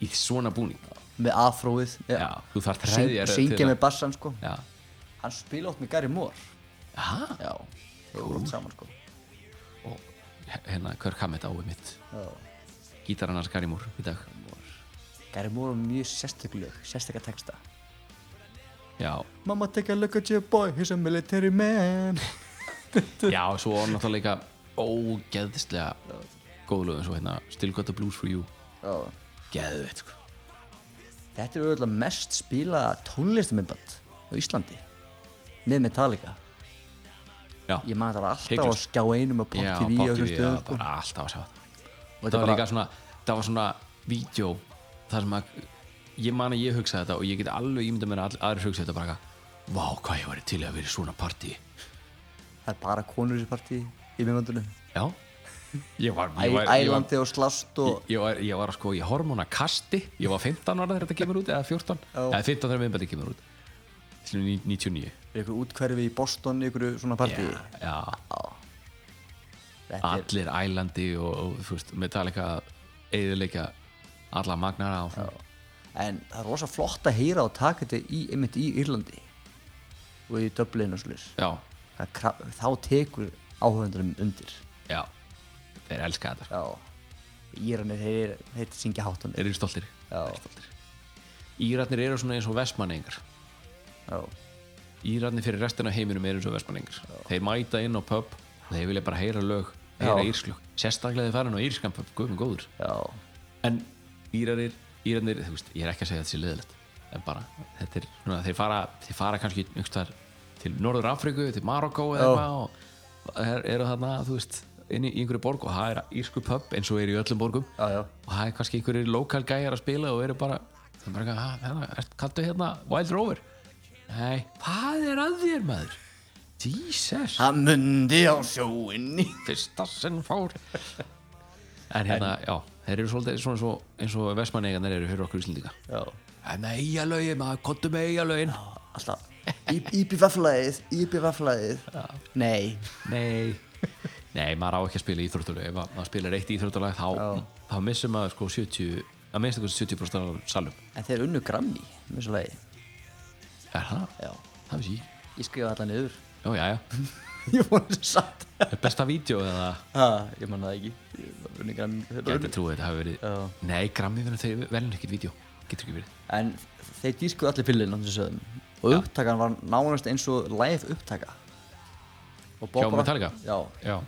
Speaker 7: í svona búning
Speaker 6: með afróið
Speaker 7: Já, þú þarft
Speaker 6: Syng-
Speaker 7: hreðjar
Speaker 6: syngja með bassan sko
Speaker 7: Já,
Speaker 6: hann spila oft með Gary Moore
Speaker 7: Aha,
Speaker 6: já, þau voru oft saman sko
Speaker 7: og he- hérna Kirk Hammett áið mitt
Speaker 6: Já.
Speaker 7: Gítarann hans Gary Moore í dag
Speaker 6: Gary Moore er mjög sérstökuleg sérstöka texta
Speaker 7: Já,
Speaker 6: Mama take a look at your boy, he's a military man
Speaker 7: já svo var náttúrulega líka ógeðslega góðlöðum svo hérna Still Got The Blues For You
Speaker 6: já.
Speaker 7: Geðveitt sko
Speaker 6: Þetta er auðvitað mest spila tónlistamindband á Íslandi með Metallica
Speaker 7: Já,
Speaker 6: Ég man það var alltaf á
Speaker 7: Hiklaust.
Speaker 6: skjá einum og pop
Speaker 7: já,
Speaker 6: TV og
Speaker 7: Pop
Speaker 6: þessum
Speaker 7: TV,
Speaker 6: stöðum
Speaker 7: já,
Speaker 6: sko.
Speaker 7: bara alltaf að sjá það
Speaker 6: Og
Speaker 7: það
Speaker 6: þetta
Speaker 7: var
Speaker 6: bara,
Speaker 7: líka svona það var svona vídeo þar sem að ég man að ég hugsaði þetta og ég get alveg ímynda mér að all- aðrir hugsaði þetta bara eitthvað, vá hvað ég væri til í að vera í svona partí
Speaker 6: það er bara konur í þessu partí í minnvandunum
Speaker 7: já ég var ég var, ég var,
Speaker 6: Ælandi og slast og
Speaker 7: ég var, ég var sko í hormonakasti ég var 15 ára þegar þetta kemur út eða 14
Speaker 6: Já.
Speaker 7: eða 15 þegar viðbæti kemur út Til ní- 99
Speaker 6: ykkur útkverfi í Boston ykkur svona partí
Speaker 7: já, já,
Speaker 6: Þetta er
Speaker 7: allir ælandi og, og þú veist, Metallica eðilega alla magnara og svona
Speaker 6: En það er rosa flott að heyra og taka þetta í, einmitt í Írlandi og í Dublin og slis
Speaker 7: já,
Speaker 6: þá tekur áhöfundurum undir
Speaker 7: já, þeir elska þetta sko.
Speaker 6: Já Írannir, þeir, þeir syngja háttan
Speaker 7: þeir eru stoltir
Speaker 6: Já.
Speaker 7: stoltir. Írarnir eru svona eins og vestmanningar
Speaker 6: Já,
Speaker 7: Írarnir fyrir restina af heiminum eru eins og vestmanningar þeir mæta inn á pub og þeir vilja bara heyra lög, heyra
Speaker 6: Já.
Speaker 7: írslög sérstaklega þeir farin á írskan pub, guðum góður
Speaker 6: já,
Speaker 7: en Írarir, Írarir þú veist, ég er ekki að segja að þetta sé leðilegt en bara, þetta er svona, þeir fara þeir fara kannski yngstar til Norður Afríku, til Marokko eða
Speaker 6: Já.
Speaker 7: eitthvað og er, eru þarna, þú veist inn í í einhverju borg og það er írsku pub eins og er í öllum borgum
Speaker 6: Já, já.
Speaker 7: og það er kannski einhverjir lokal gæjar að spila og eru bara, það er bara eitthvað, "Ha, hérna, er, kaltu hérna Wild Rover nei, hvað er að þér maður Jesus,
Speaker 6: Það mundi á sjóinni
Speaker 7: fyrsta sem fór en hérna, já, þeir eru svolítið svona svo, eins og vestmannegarnir eru fyrir okkur íslendinga
Speaker 6: Já,
Speaker 7: en eigalögin, maður kottu með eigalögin
Speaker 6: alltaf Íbí vaflaðið, íbí vaflaðið Nei,
Speaker 7: nei nei, maður á ekki að spila íþróttuleg ef maður spilar eitt íþróttuleg þá, þá missum maður sko 70 að minnst eitthvað 70% af salum
Speaker 6: en þeir unnu grammi með þessu lagi
Speaker 7: er það?
Speaker 6: Já,
Speaker 7: það vissi ég
Speaker 6: ég skrifa allan niður
Speaker 7: já, já, já,
Speaker 6: Ég vona þessu satt
Speaker 7: er besta vídeo eða
Speaker 6: Ha, ég manna það ekki Ég var unnu Grammy. Þeir
Speaker 7: gæti
Speaker 6: unnu-
Speaker 7: trúið þetta hafi verið
Speaker 6: Já.
Speaker 7: nei, grammi verður þeir velin ekkert vídeo getur ekki verið
Speaker 6: En þeir dískuðu allir pillin á þessu sögum Og upptakan var nánast eins og live upptaka Og Bob
Speaker 7: Hjá
Speaker 6: Rock-
Speaker 7: Metallica?
Speaker 6: Já,
Speaker 7: já,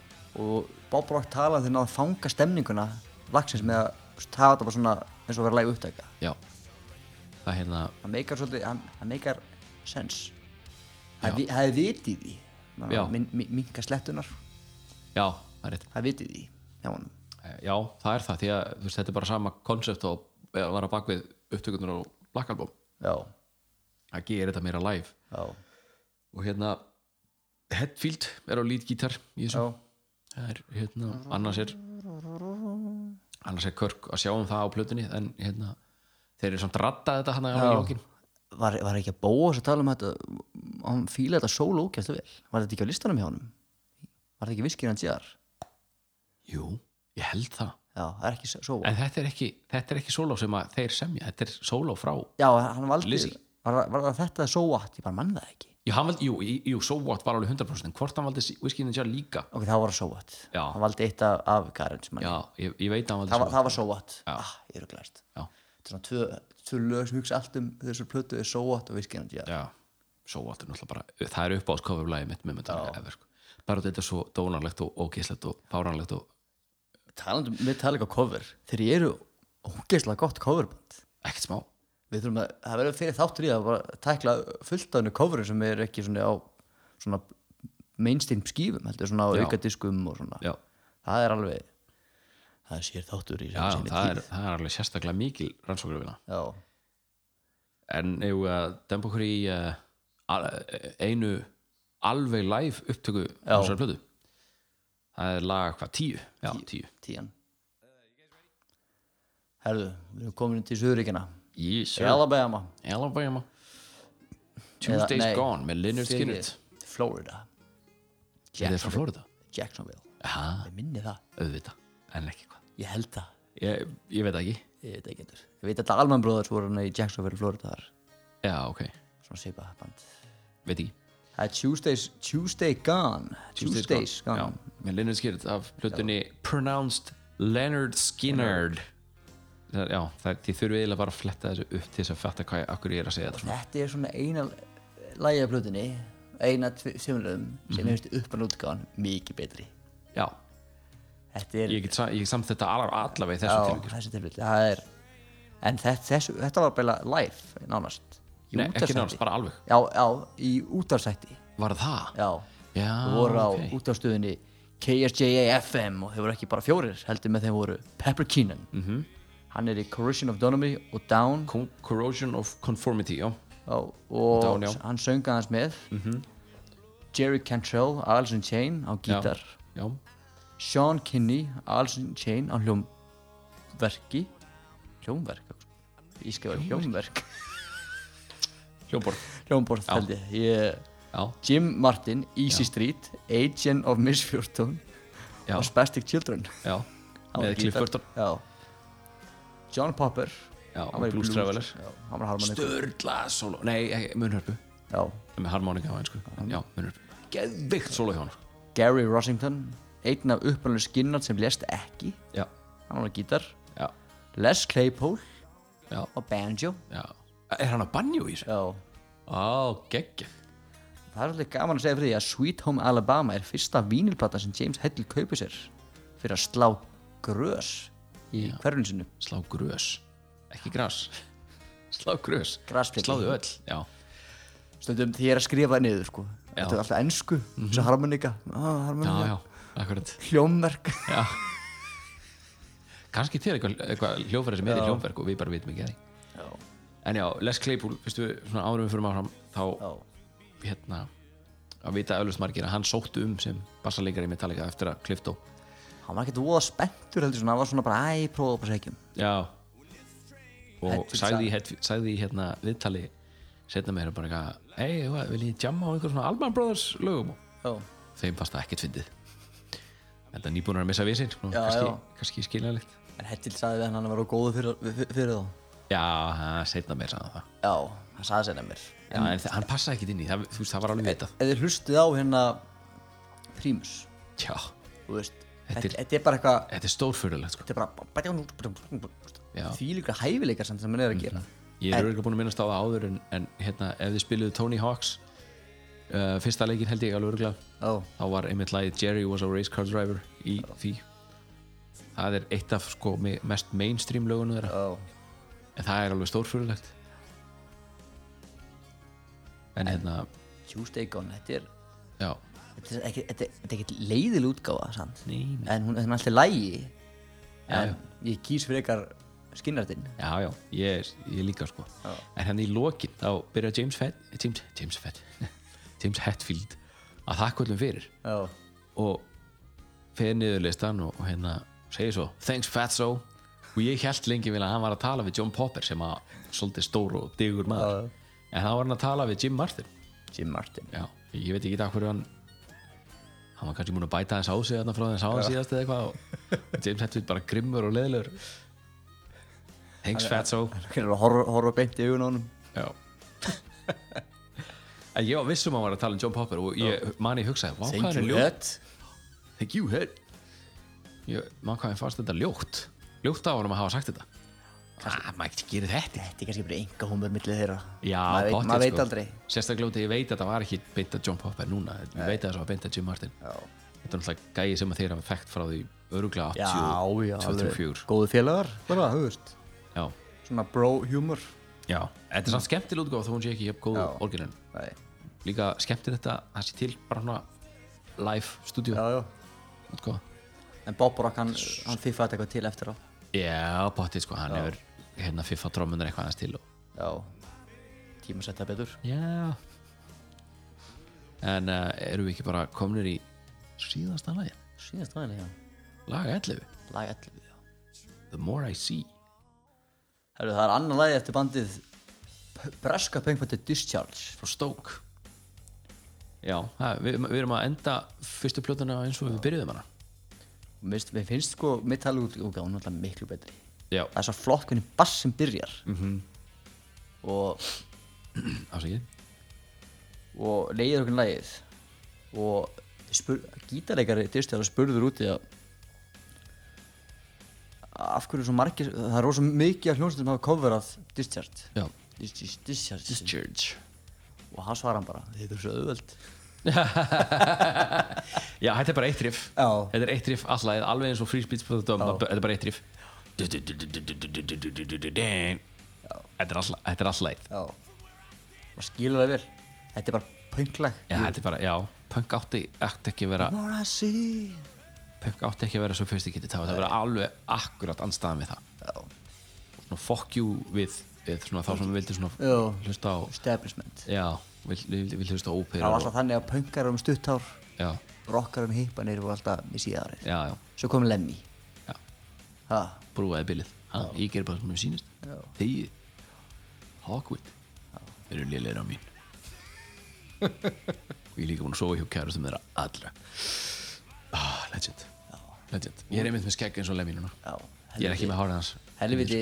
Speaker 6: og Bob Rock talaði um þeir náðu að fanga stemninguna lagsins með að hafa þetta bara svona eins og vera læg upptækja
Speaker 7: já það er hérna
Speaker 6: það meikar svolítið, hann, hann meikar sens það vi- það er vit í því
Speaker 7: Já.
Speaker 6: minka slettunar
Speaker 7: já, það er rétt
Speaker 6: það er vit í því hjá honum
Speaker 7: Eh, Já, það er það, því að þú veist, þetta er bara sama konsept og eða var að bak við upptökurnar á Black Album
Speaker 6: já,
Speaker 7: að gera þetta meira live
Speaker 6: já,
Speaker 7: og hérna Hetfield er á lead gítar í
Speaker 6: já,
Speaker 7: þessu það er hérna, annars er annars er Körk að sjá um það á plötunni en hérna, þeir eru samt rattað þetta hann að
Speaker 6: Já.
Speaker 7: lókin
Speaker 6: Var, var ekki að bóa þess að tala um þetta hann fíla þetta sól ógæstu vel var þetta ekki á listanum hjá honum var þetta ekki viskir hans jár
Speaker 7: Jú, ég held það
Speaker 6: já, það er ekki sól
Speaker 7: en þetta er ekki, þetta er ekki sóló sem að þeir semja, þetta er sóló frá
Speaker 6: já, hann valdi
Speaker 7: Lizzy.
Speaker 6: var, var það þetta sóatt, ég bara mann það ekki
Speaker 7: Jú, hann valdi, jú, í- jú, So What var alveg 100% en hvort hann valdi Whiskey Ninja líka
Speaker 6: ok, það var sóatt
Speaker 7: Já.
Speaker 6: hann valdi eitt af, af Karen sem hann
Speaker 7: Já, ég, ég veit að hann valdi
Speaker 6: það var,
Speaker 7: So
Speaker 6: það var So What
Speaker 7: Já.
Speaker 6: ah, ég eru glæst
Speaker 7: What. Já.
Speaker 6: þetta er svona tvö, tvö lög sem hugsa allt um þessu plötu er So What og Whiskey and Jazz
Speaker 7: já, svo allt er náttúrulega bara það er upp á skofurlægi mitt með Metallica ever, sko. bara þetta er svo dónalegt og ógislegt og fáránlegt og
Speaker 6: talandum með talega cover þeir eru ógeðslega gott coverband
Speaker 7: ekkert smá
Speaker 6: við þurfum að, það verður fyrir þáttur í að bara tækla fullt af hennu coverum sem er ekki svona á svona mainstream skífum heldur svona á
Speaker 7: Já.
Speaker 6: aukadiskum og svona
Speaker 7: já,
Speaker 6: það er alveg það er sér þáttur í
Speaker 7: já,
Speaker 6: sinni
Speaker 7: það, er,
Speaker 6: tíð.
Speaker 7: það er alveg sérstaklega mikil rannsókurvina
Speaker 6: já,
Speaker 7: en ef að dempa okkur í uh, al- eh, einu alveg live upptöku á
Speaker 6: Já.
Speaker 7: þessari plötu það er lag hvað, tíu? já, tíu
Speaker 6: tían herðu, við erum komin til Suðuríkina
Speaker 7: yes, sir.
Speaker 6: Alabama
Speaker 7: Alabama Tuesday's
Speaker 6: nei,
Speaker 7: Gone með Leonard
Speaker 6: fyrir
Speaker 7: Skinner
Speaker 6: Florida
Speaker 7: er það frá Florida?
Speaker 6: Jacksonville
Speaker 7: já,
Speaker 6: Ég minni það,
Speaker 7: auðvitað, en ekki hvað
Speaker 6: ég held það
Speaker 7: ég, ég veit það ekki
Speaker 6: ég veit ekki endur ég veit þetta Alman Brothers voru hann í Jacksonville, Florida þar
Speaker 7: já, ok,
Speaker 6: svona seipa band
Speaker 7: veit ekki
Speaker 6: það er Tuesdays Tuesday Gone Tuesdays, Gone,
Speaker 7: Já, með Leonard Skinner af plötunni Pronounced Leonard Skinner það, er- Já, það, er- þið þurfið eiginlega bara að fletta þessu upp til þess að fatta hvað ég, akkur ég er að segja þetta svona.
Speaker 6: þetta er svona eina lagið af plötunni eina tveimlöðum sem
Speaker 7: Mhm.
Speaker 6: mm. hefist uppan útgáðan mikið betri
Speaker 7: Já,
Speaker 6: þetta er
Speaker 7: ég get sa- ég get samt þetta allar allaveg í
Speaker 6: á,
Speaker 7: þessu sko. tilvík
Speaker 6: þessi tilfelli það er en þess, þessu, þetta var bara live nánast Í
Speaker 7: Nei, ekki
Speaker 6: útvarpsþætti.
Speaker 7: nánast, bara alveg.
Speaker 6: já, já, í útarsætti
Speaker 7: Var það?
Speaker 6: já,
Speaker 7: Já,
Speaker 6: þau voru á
Speaker 7: ok.
Speaker 6: okay. útarstöðinni KSJA-FM og þau voru ekki bara fjórir heldur með þeim voru Pepper Keenan
Speaker 7: Mhm.
Speaker 6: -hmm. hann er í Corrosion of Donomy og Down
Speaker 7: Co- Corrosion of Conformity, já
Speaker 6: Já, og
Speaker 7: Down, já. Mhm.
Speaker 6: hann sönga hans með Jerry Cantrell Alice in Chain á gítar
Speaker 7: Já, já.
Speaker 6: Sean Kinney Alice in Chain á hljómverki hljómverk ég skrifa hljómverk
Speaker 7: hljómborð
Speaker 6: hljómborð
Speaker 7: Já.
Speaker 6: held ég. ég
Speaker 7: Já,
Speaker 6: Jim Martin, Easy Street Agent of Misfortune
Speaker 7: já,
Speaker 6: og Spastic Children
Speaker 7: já
Speaker 6: Á
Speaker 7: Með
Speaker 6: gítar.
Speaker 7: Cliff Burton
Speaker 6: Já. John Popper
Speaker 7: Já,
Speaker 6: hann var í
Speaker 7: Blues Traveler
Speaker 6: Já, hann var harmoníku
Speaker 7: Störla solo, nei, ekki, munhörpu
Speaker 6: Já.
Speaker 7: Með harmonika á einsku, já, munhörpu Geðvikt solo hjá sko. hann
Speaker 6: Gary Rossington einn af upprunalegu skinnart sem lést ekki
Speaker 7: Já,
Speaker 6: hann var á gítar
Speaker 7: já,
Speaker 6: Les Claypool
Speaker 7: já
Speaker 6: á banjo
Speaker 7: Já. Er hann að bannjú í þessu?
Speaker 6: Já.
Speaker 7: Á, geggja
Speaker 6: það er alveg gaman að segja fyrir því að Sweet Home Alabama er fyrsta vínilplata sem James Hetfield kaupið sér fyrir að slá grös í
Speaker 7: Já.
Speaker 6: hverfinu sinu
Speaker 7: Slá grös, ekki gras Slá grös,
Speaker 6: Graspilli.
Speaker 7: sláðu öll Já,
Speaker 6: stundum því ég er að skrifa það niður sko. þetta er alltaf ensku, mm -hmm. harmonika, ah,
Speaker 7: já,
Speaker 6: harmonika.
Speaker 7: já, akkurat
Speaker 6: hljómverk
Speaker 7: Já Kannski til eitthvað, eitthvað hljófæri sem er í hljómverk og við bara vitum ekki að því
Speaker 6: Já.
Speaker 7: En já, Les Claypool, veistu, svona árum við fyrir maður þá,
Speaker 6: Já.
Speaker 7: hérna að vita öllust margir að hann sóttu um sem bassarleikari í Metallica eftir að Clifto
Speaker 6: hann var ekkert voða spenntur heldur svona, hann var svona bara æ, prófaðu bara sækjum
Speaker 7: Já Og
Speaker 6: Hetfield
Speaker 7: sagði, í Hetf- sagði í hérna viðtali setna meira bara eitthvað Hei, hvað, vil ég jamma á einhver svona Alman Brothers lögum
Speaker 6: já,
Speaker 7: Þeim fannst það ekkert fyndið En það nýbúnar að missa við sinn
Speaker 6: Já,
Speaker 7: kannski,
Speaker 6: já.
Speaker 7: kannski skiljanlegt
Speaker 6: en Hetfield sagði við hann að hann var á góðu fyrir, fyrir, fyrir þá
Speaker 7: Já, ha, setna meira sagði hann það
Speaker 6: já, hann sagði sér nefnir
Speaker 7: Já, en þa- hann passaði ekkert inn í, það, þú veist, það var alveg vitað
Speaker 6: ef þið hlustuð á hérna Primus
Speaker 7: Já,
Speaker 6: þú veist,
Speaker 7: Þetta
Speaker 6: þetta
Speaker 7: er-
Speaker 6: þetta er bara eitthvað
Speaker 7: þetta er stórfyrulegt sko.
Speaker 6: þetta er bara badján út, badján út, badján út,
Speaker 7: Já.
Speaker 6: badján út. því líka hæfileikar sem hann er að gera
Speaker 7: Ég er örgulega búin að minnast á það áður en, en hérna, ef þið spiluðu Tony Hawks uh, fyrsta leikinn held ég alveg örgulega
Speaker 6: Ó.
Speaker 7: þá var einmitt lagið Jerry was a race car driver í því Það er eitt af sko me- mest mainstream lögunum þeirra
Speaker 6: Ó.
Speaker 7: en það er alveg stórfyrulegt En hérna,
Speaker 6: Tuesday Gone, þetta er
Speaker 7: já
Speaker 6: þetta er ekki, þetta er- þetta er ekki leiðil útgáfa sant?
Speaker 7: Nei, nei.
Speaker 6: en hún þetta er alltaf lægi
Speaker 7: Já,
Speaker 6: en ég kýs fyrir ykkar skinnartinn
Speaker 7: Já, já, ég, ég líka sko En henni í lokin, þá byrja James Fett James, James Fett James Hetfield að þakka öllum fyrir
Speaker 6: já,
Speaker 7: og fer niður listan og, og hérna segir svo, thanks Fatso og ég held lengi vel að hann var að tala við John Popper sem að svolítið stór og digur maður en þá var hann að tala við Jim Martin
Speaker 6: Jim Martin
Speaker 7: já, ég veit ekki það hverju hann hann var kannski múin að bæta hans á sig þarna frá þess að hann síðast eða eitthvað og James Hetfield bara grimmur og leðilegur thanks Fatso
Speaker 6: hann er að horfa, horfa beint í augun á honum
Speaker 7: Já En ég var vissum að hann var að tala um John Popper og ég mani hugsaði, vá hvað hann er ljótt Thank you, head Ég man hvað hann fannst þetta ljótt Ljótt á honum að hafa sagt þetta Ah, maður ekki gerir þetta
Speaker 6: þetta er kannski bara enga humur millið þeirra
Speaker 7: Já,
Speaker 6: maður veit,
Speaker 7: pottþétt,
Speaker 6: maður veit
Speaker 7: sko.
Speaker 6: aldrei
Speaker 7: Sérstaklega út að ég veit að þetta var ekki beint að John Popper núna Ég veit að það var beint að Jim Martin
Speaker 6: Já.
Speaker 7: Þetta er náttúrulega gæi sem að þeir hafa þekkt frá því öruglega 80
Speaker 6: já, já, alveg.
Speaker 7: 24
Speaker 6: góðu félagar bara, þú veist
Speaker 7: Já,
Speaker 6: svona bro humor
Speaker 7: já Þetta er samt skemmtileg útgáfa þó hún sé ekki jafn góð
Speaker 6: Já.
Speaker 7: orginal
Speaker 6: Nei.
Speaker 7: Líka skemmtileg þetta að það sé til bara hana live studio
Speaker 6: já, já.
Speaker 7: útgáfa
Speaker 6: en Bob Rock hann, hann fiffaði eitthvað til eftir á
Speaker 7: Já, potið sko, hann hefur hérna fiffa trómunar eitthvað aðeins til og...
Speaker 6: já tíma setja betur
Speaker 7: Já En uh, erum við ekki bara komnir í síðasta lagi?
Speaker 6: síðast aðeins, já
Speaker 7: Laga 11
Speaker 6: lag 11, já
Speaker 7: The More I See
Speaker 6: Herru, það er annan lagi eftir bandið P- breska pengpætti Discharge
Speaker 7: frá Stoke Já, það, við, við erum að enda fyrstu plötuna eins og við byrjuðum hana
Speaker 6: mér finnst- mér finnst sko mitt Halloween-útgáfa hún er alltaf miklu betri
Speaker 7: Já,
Speaker 6: það er svo flott hvernig bass sem byrjar -hmm. og,
Speaker 7: afsakið
Speaker 6: og leiðir okkur lagið og spur, gítarleikari dyrstjáður spurður úti að af hverju svo margir það er rosa mikið af hljómsveitum sem hafa coverað Discharge
Speaker 7: Já.
Speaker 6: Dis- Discharge Discharge og hann svarar hann bara þetta er svo auðvöld
Speaker 7: Já, þetta er bara eitt riff
Speaker 6: Já.
Speaker 7: Þetta er eitt riff alltaf, alveg eins og Free Speech for the Dumb Þetta er bara eitt riff Þetta er alltaf Þetta er alltaf
Speaker 6: já og skilur það vel þetta er bara pönglag
Speaker 7: Já, þetta er bara, já Punk átti, átti ekki að vera
Speaker 6: What I see
Speaker 7: Punk átti ekki að vera sophisticated Það var að vera alveg akkurat anstæðan við það
Speaker 6: Já.
Speaker 7: Svona fuck you við, við svona, þá sem við vildum svona
Speaker 6: Já.
Speaker 7: hlusta á
Speaker 6: establishment
Speaker 7: Já, við, við, við hlusta á óperu
Speaker 6: það var alltaf þannig að pöngar um stutthár
Speaker 7: Já,
Speaker 6: rockar um hippanir voru alltaf í síðarið
Speaker 7: já, já,
Speaker 6: svo kom Lemmy
Speaker 7: Já.
Speaker 6: ha,
Speaker 7: brúaði bilið ha, Ég ger bara sem mér sýnist
Speaker 6: Já.
Speaker 7: Þegið Hawkwind Þeir eru lélegir á mín Og ég er líka búin að sofa hjá kærastum þeirra allra ah, Legend Legend Ég er einmitt með skegg eins og lemmi núna
Speaker 6: já,
Speaker 7: Ég er ekki með hárið hans
Speaker 6: helviti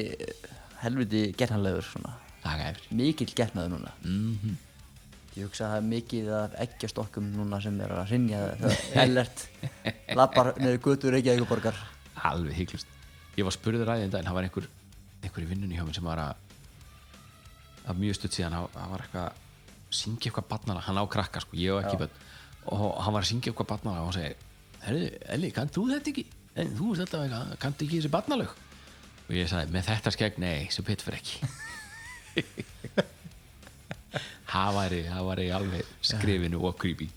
Speaker 6: helviti getnanlegur svona
Speaker 7: Daga yfir
Speaker 6: mikill getnaður núna mm
Speaker 7: Mhm.
Speaker 6: -hmm. ég hugsa að það er mikið af eggjastokkum núna sem er að rinja hellert lappar neður gutur Reykjavíkuborgar
Speaker 7: Alveg hygglust Ég var spurður aðeins en það var einhver einhver í vinnunni hjá mér sem var að að mjög stutt síðan hann hann var eitthvað að syngja eitthvað barnana hann á krakka sko, ég og ekki bönn og hann var að syngja eitthvað barnana og hann segi Herru, Elli, kann þú þetta ekki? En þú veist alltaf eitthvað, kanntu ekki þessi barnalög? Og ég sagði, með þetta skegg, nei, sem pitt fyrir ekki Það væri, það væri alveg skrifinu og creepy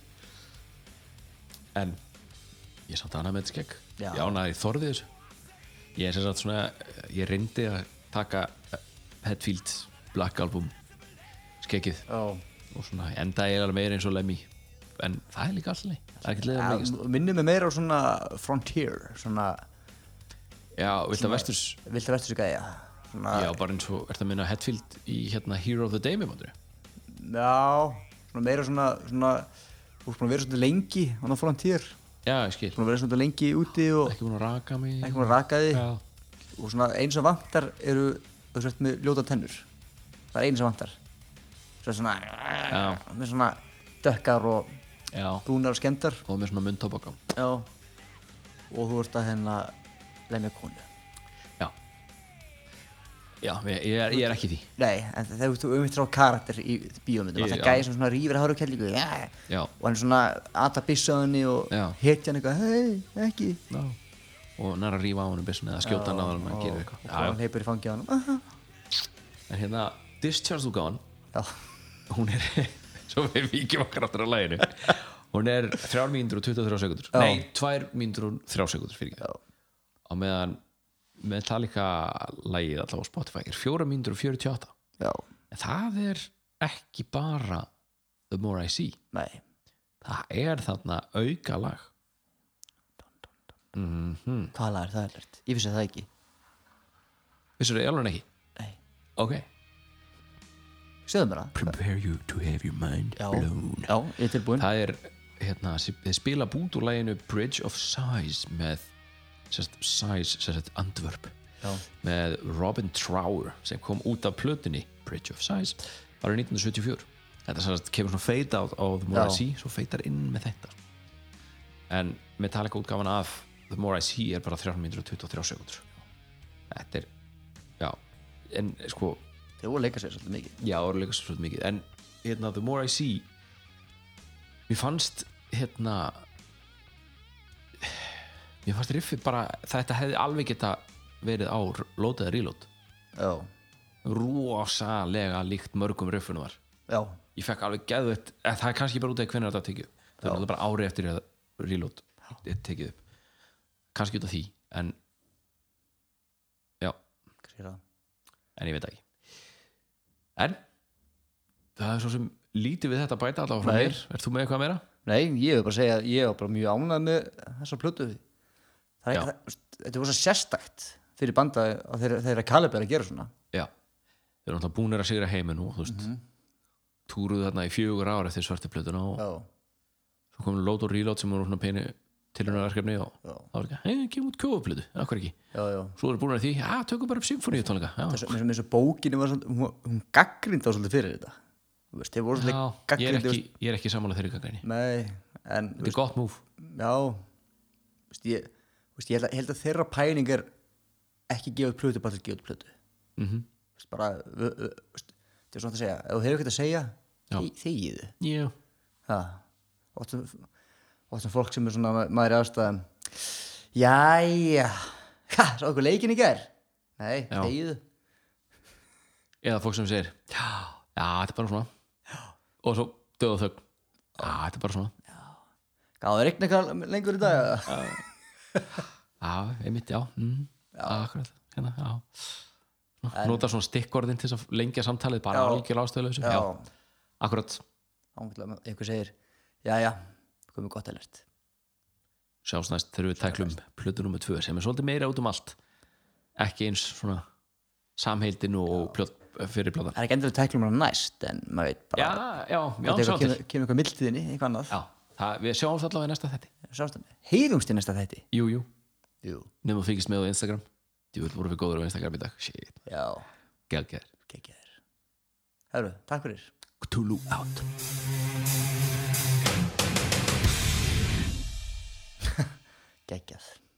Speaker 7: En ég samt annað með þetta skegg
Speaker 6: Já.
Speaker 7: Ég ánaði þorði þessu Ég er sem sagt svona, ég reyndi að taka eh, Hetfield Black Album skeggið
Speaker 6: já
Speaker 7: og svona endaði ég alveg meira eins og Lemmy en það er líka alltaf leið það er ekkert leið að leikast
Speaker 6: Ja, minnir mig meira á svona frontier svona
Speaker 7: Já, vilt að vesturs
Speaker 6: vilt að verður svo gæja svona,
Speaker 7: Já, bara eins og, ertu að minna Hetfield í hérna Hero of the Day með máttur
Speaker 6: já, svona meira svona, svona þú ert búin að vera svona lengi á það frontier
Speaker 7: Já, ég skil,
Speaker 6: búin að vera svona lengi úti og
Speaker 7: ekki búin að raka mig
Speaker 6: ekki búin að raka þig
Speaker 7: Já.
Speaker 6: og svona eins og vantar eru þú sért með ljóta tennur það er eins og vantar svo svona,
Speaker 7: Já.
Speaker 6: með svona dökkar og
Speaker 7: Já,
Speaker 6: brúnar og skemmtar
Speaker 7: og með svona munntóbaka
Speaker 6: já. og þú ert að hérna lemja konu
Speaker 7: Já Já, ég, ég, er, ég er ekki í því
Speaker 6: Nei, en þegar þú umitt frá karakter í bíómyndum,
Speaker 7: Í-
Speaker 6: alltaf
Speaker 7: já.
Speaker 6: gæði sem svona rýfir að hafa kellingu yeah.
Speaker 7: Já.
Speaker 6: og hann er svona aðta bissaðunni og
Speaker 7: Já.
Speaker 6: hetja hann eitthvað, hei, ekki
Speaker 7: Já Og hann er að rífa á hann um byssunni eða skjóta hann á hann
Speaker 6: og
Speaker 7: að gera
Speaker 6: hann
Speaker 7: eitthvað Já,
Speaker 6: heipur í fangja hann
Speaker 7: já. En hérna, Discharge útgáfan
Speaker 6: Já,
Speaker 7: hún er svo við víkjum okkar aftur á læginu hún er 3 mínútur og 23 sekundur nei, 2 mínútur og 3 sekundur fyrir
Speaker 6: Já.
Speaker 7: ekki á meðan Metallica lægið allavega á Spotify er 4 mínútur og 48
Speaker 6: já,
Speaker 7: en það er ekki bara The More I See
Speaker 6: nei
Speaker 7: það er þarna auka lag Mm.
Speaker 6: Hvaða lag er það erlert? Ég vissi það ekki
Speaker 7: vissur þau alveg ekki?
Speaker 6: Nei.
Speaker 7: ok
Speaker 6: Segðu mér það
Speaker 7: prepare you to have your mind
Speaker 6: Já, já, ég er tilbúinn
Speaker 7: það er hérna, þeir spila bút úr læginu Bridge of Sighs með sérst, Sighs, sérst, Andvörp
Speaker 6: Já.
Speaker 7: með Robin Trower sem kom út af plötunni Bridge of Sighs árið 1974 þetta sérst, kemur svona fade out á The More
Speaker 6: Já.
Speaker 7: I See svo feitar inn með þetta en Metallica útgáfan af The More I See er bara 323 sekundur þetta er já, en sko
Speaker 6: Þau voru að leika sér svolítið mikið
Speaker 7: Já, orður leikast svolítið mikið En hérna, The More I See Mér fannst hérna Mér fannst riffið bara Þetta hefði alveg geta verið á Load eða Reload
Speaker 6: Já,
Speaker 7: Rosalega líkt mörgum riffunum var
Speaker 6: já,
Speaker 7: Ég fekk alveg geðvett eh, Það er kannski bara út af hvernig þetta tekið upp. Það er alveg bara ári eftir að Reload er tekið upp Kannski út af því En Já,
Speaker 6: kannski er það
Speaker 7: en ég veit það ekki en það er svo sem lítið við þetta að bæta allavega frá
Speaker 6: Nei.
Speaker 7: mér er þú með eitthvað meira?
Speaker 6: Nei, ég hefur bara að segja að ég var bara mjög ánægð með þessa plötu Það
Speaker 7: Já.
Speaker 6: er, það, þetta er voru sérstakt fyrir banda að þeirra, þeirra kalibera að gera svona
Speaker 7: já, þeir eru náttúrulega búnir að sigra heiminn og þú veist túruðu þarna í fjögur ára eftir svartu plötuna og
Speaker 6: Já,
Speaker 7: svo komum lót og reload sem voru svona pínu tilhörnarverkefni og
Speaker 6: Já.
Speaker 7: þá var ekki, hei, kemur út kjóðuplötu, akkur ekki
Speaker 6: já, já
Speaker 7: svo eru búin að því, að tökum bara upp symfóníutónleika já,
Speaker 6: eins og- eins og bókinu var svona, hún, hún gaggrind á svolítið fyrir þetta Þú veist, þeir voru
Speaker 7: já,
Speaker 6: svolítið
Speaker 7: ég er
Speaker 6: gaggrindi
Speaker 7: ekki, ég er ekki samanlega þeirri gangaðinni
Speaker 6: nei, en þú
Speaker 7: þetta er gott múf,
Speaker 6: já þú veist, ég, þú veist, ég held, að, ég held að þeirra pæling er ekki gefa út plötu bara til að gefa út plötu mm
Speaker 7: Mhm.
Speaker 6: veist, bara v- v- þú veist, þetta er svona að segja ef þú hefur ekkert að segja,
Speaker 7: Já.
Speaker 6: þegi- þegiðu
Speaker 7: já,
Speaker 6: það og sem um, fólk sem er svona ma- maður í aðstæðan jæja ha, sá okkur leikin í gær nei,
Speaker 7: Já.
Speaker 6: þegiðu
Speaker 7: eða fólk sem segir já, þetta er bara svona og svo döðu þögn já, þetta er bara svona
Speaker 6: gáðu regna eitthvað lengur í dag eða?
Speaker 7: Já, einmitt, já, mm, já. Akkurat, hérna, já. Svona, Nota svona stikkorðin til þess að lengja samtalið bara
Speaker 6: Já.
Speaker 7: algjör ástöðuleysu já.
Speaker 6: já,
Speaker 7: Akkurat,
Speaker 6: ángla, einhver segir jæja, komið gott elert
Speaker 7: sjást næst þegar við tæklum plötu nummer tvö sem er svolítið meira út um allt ekki eins svona samheildin og plöt, fyrir plötan
Speaker 6: það er ekki endur að tækla mér næst en maður veit bara
Speaker 7: Já, já, já,
Speaker 6: þetta
Speaker 7: sjá
Speaker 6: eitthvað-
Speaker 7: til
Speaker 6: kemur, kemur eitthvað mildtíðinni, eitthvað annað
Speaker 7: Já, það, við sjáum það allavega í næsta þetti
Speaker 6: Sástandi. heyrumst í næsta þætti
Speaker 7: Jú, jú,
Speaker 6: Jú.
Speaker 7: nefnum að fylgist með á Instagram Djúvel voru við góður á Instagram í dag Shit,
Speaker 6: já,
Speaker 7: geggjær
Speaker 6: geggjaður Hörru, takk fyrir
Speaker 7: Cthulhu out
Speaker 6: geggjað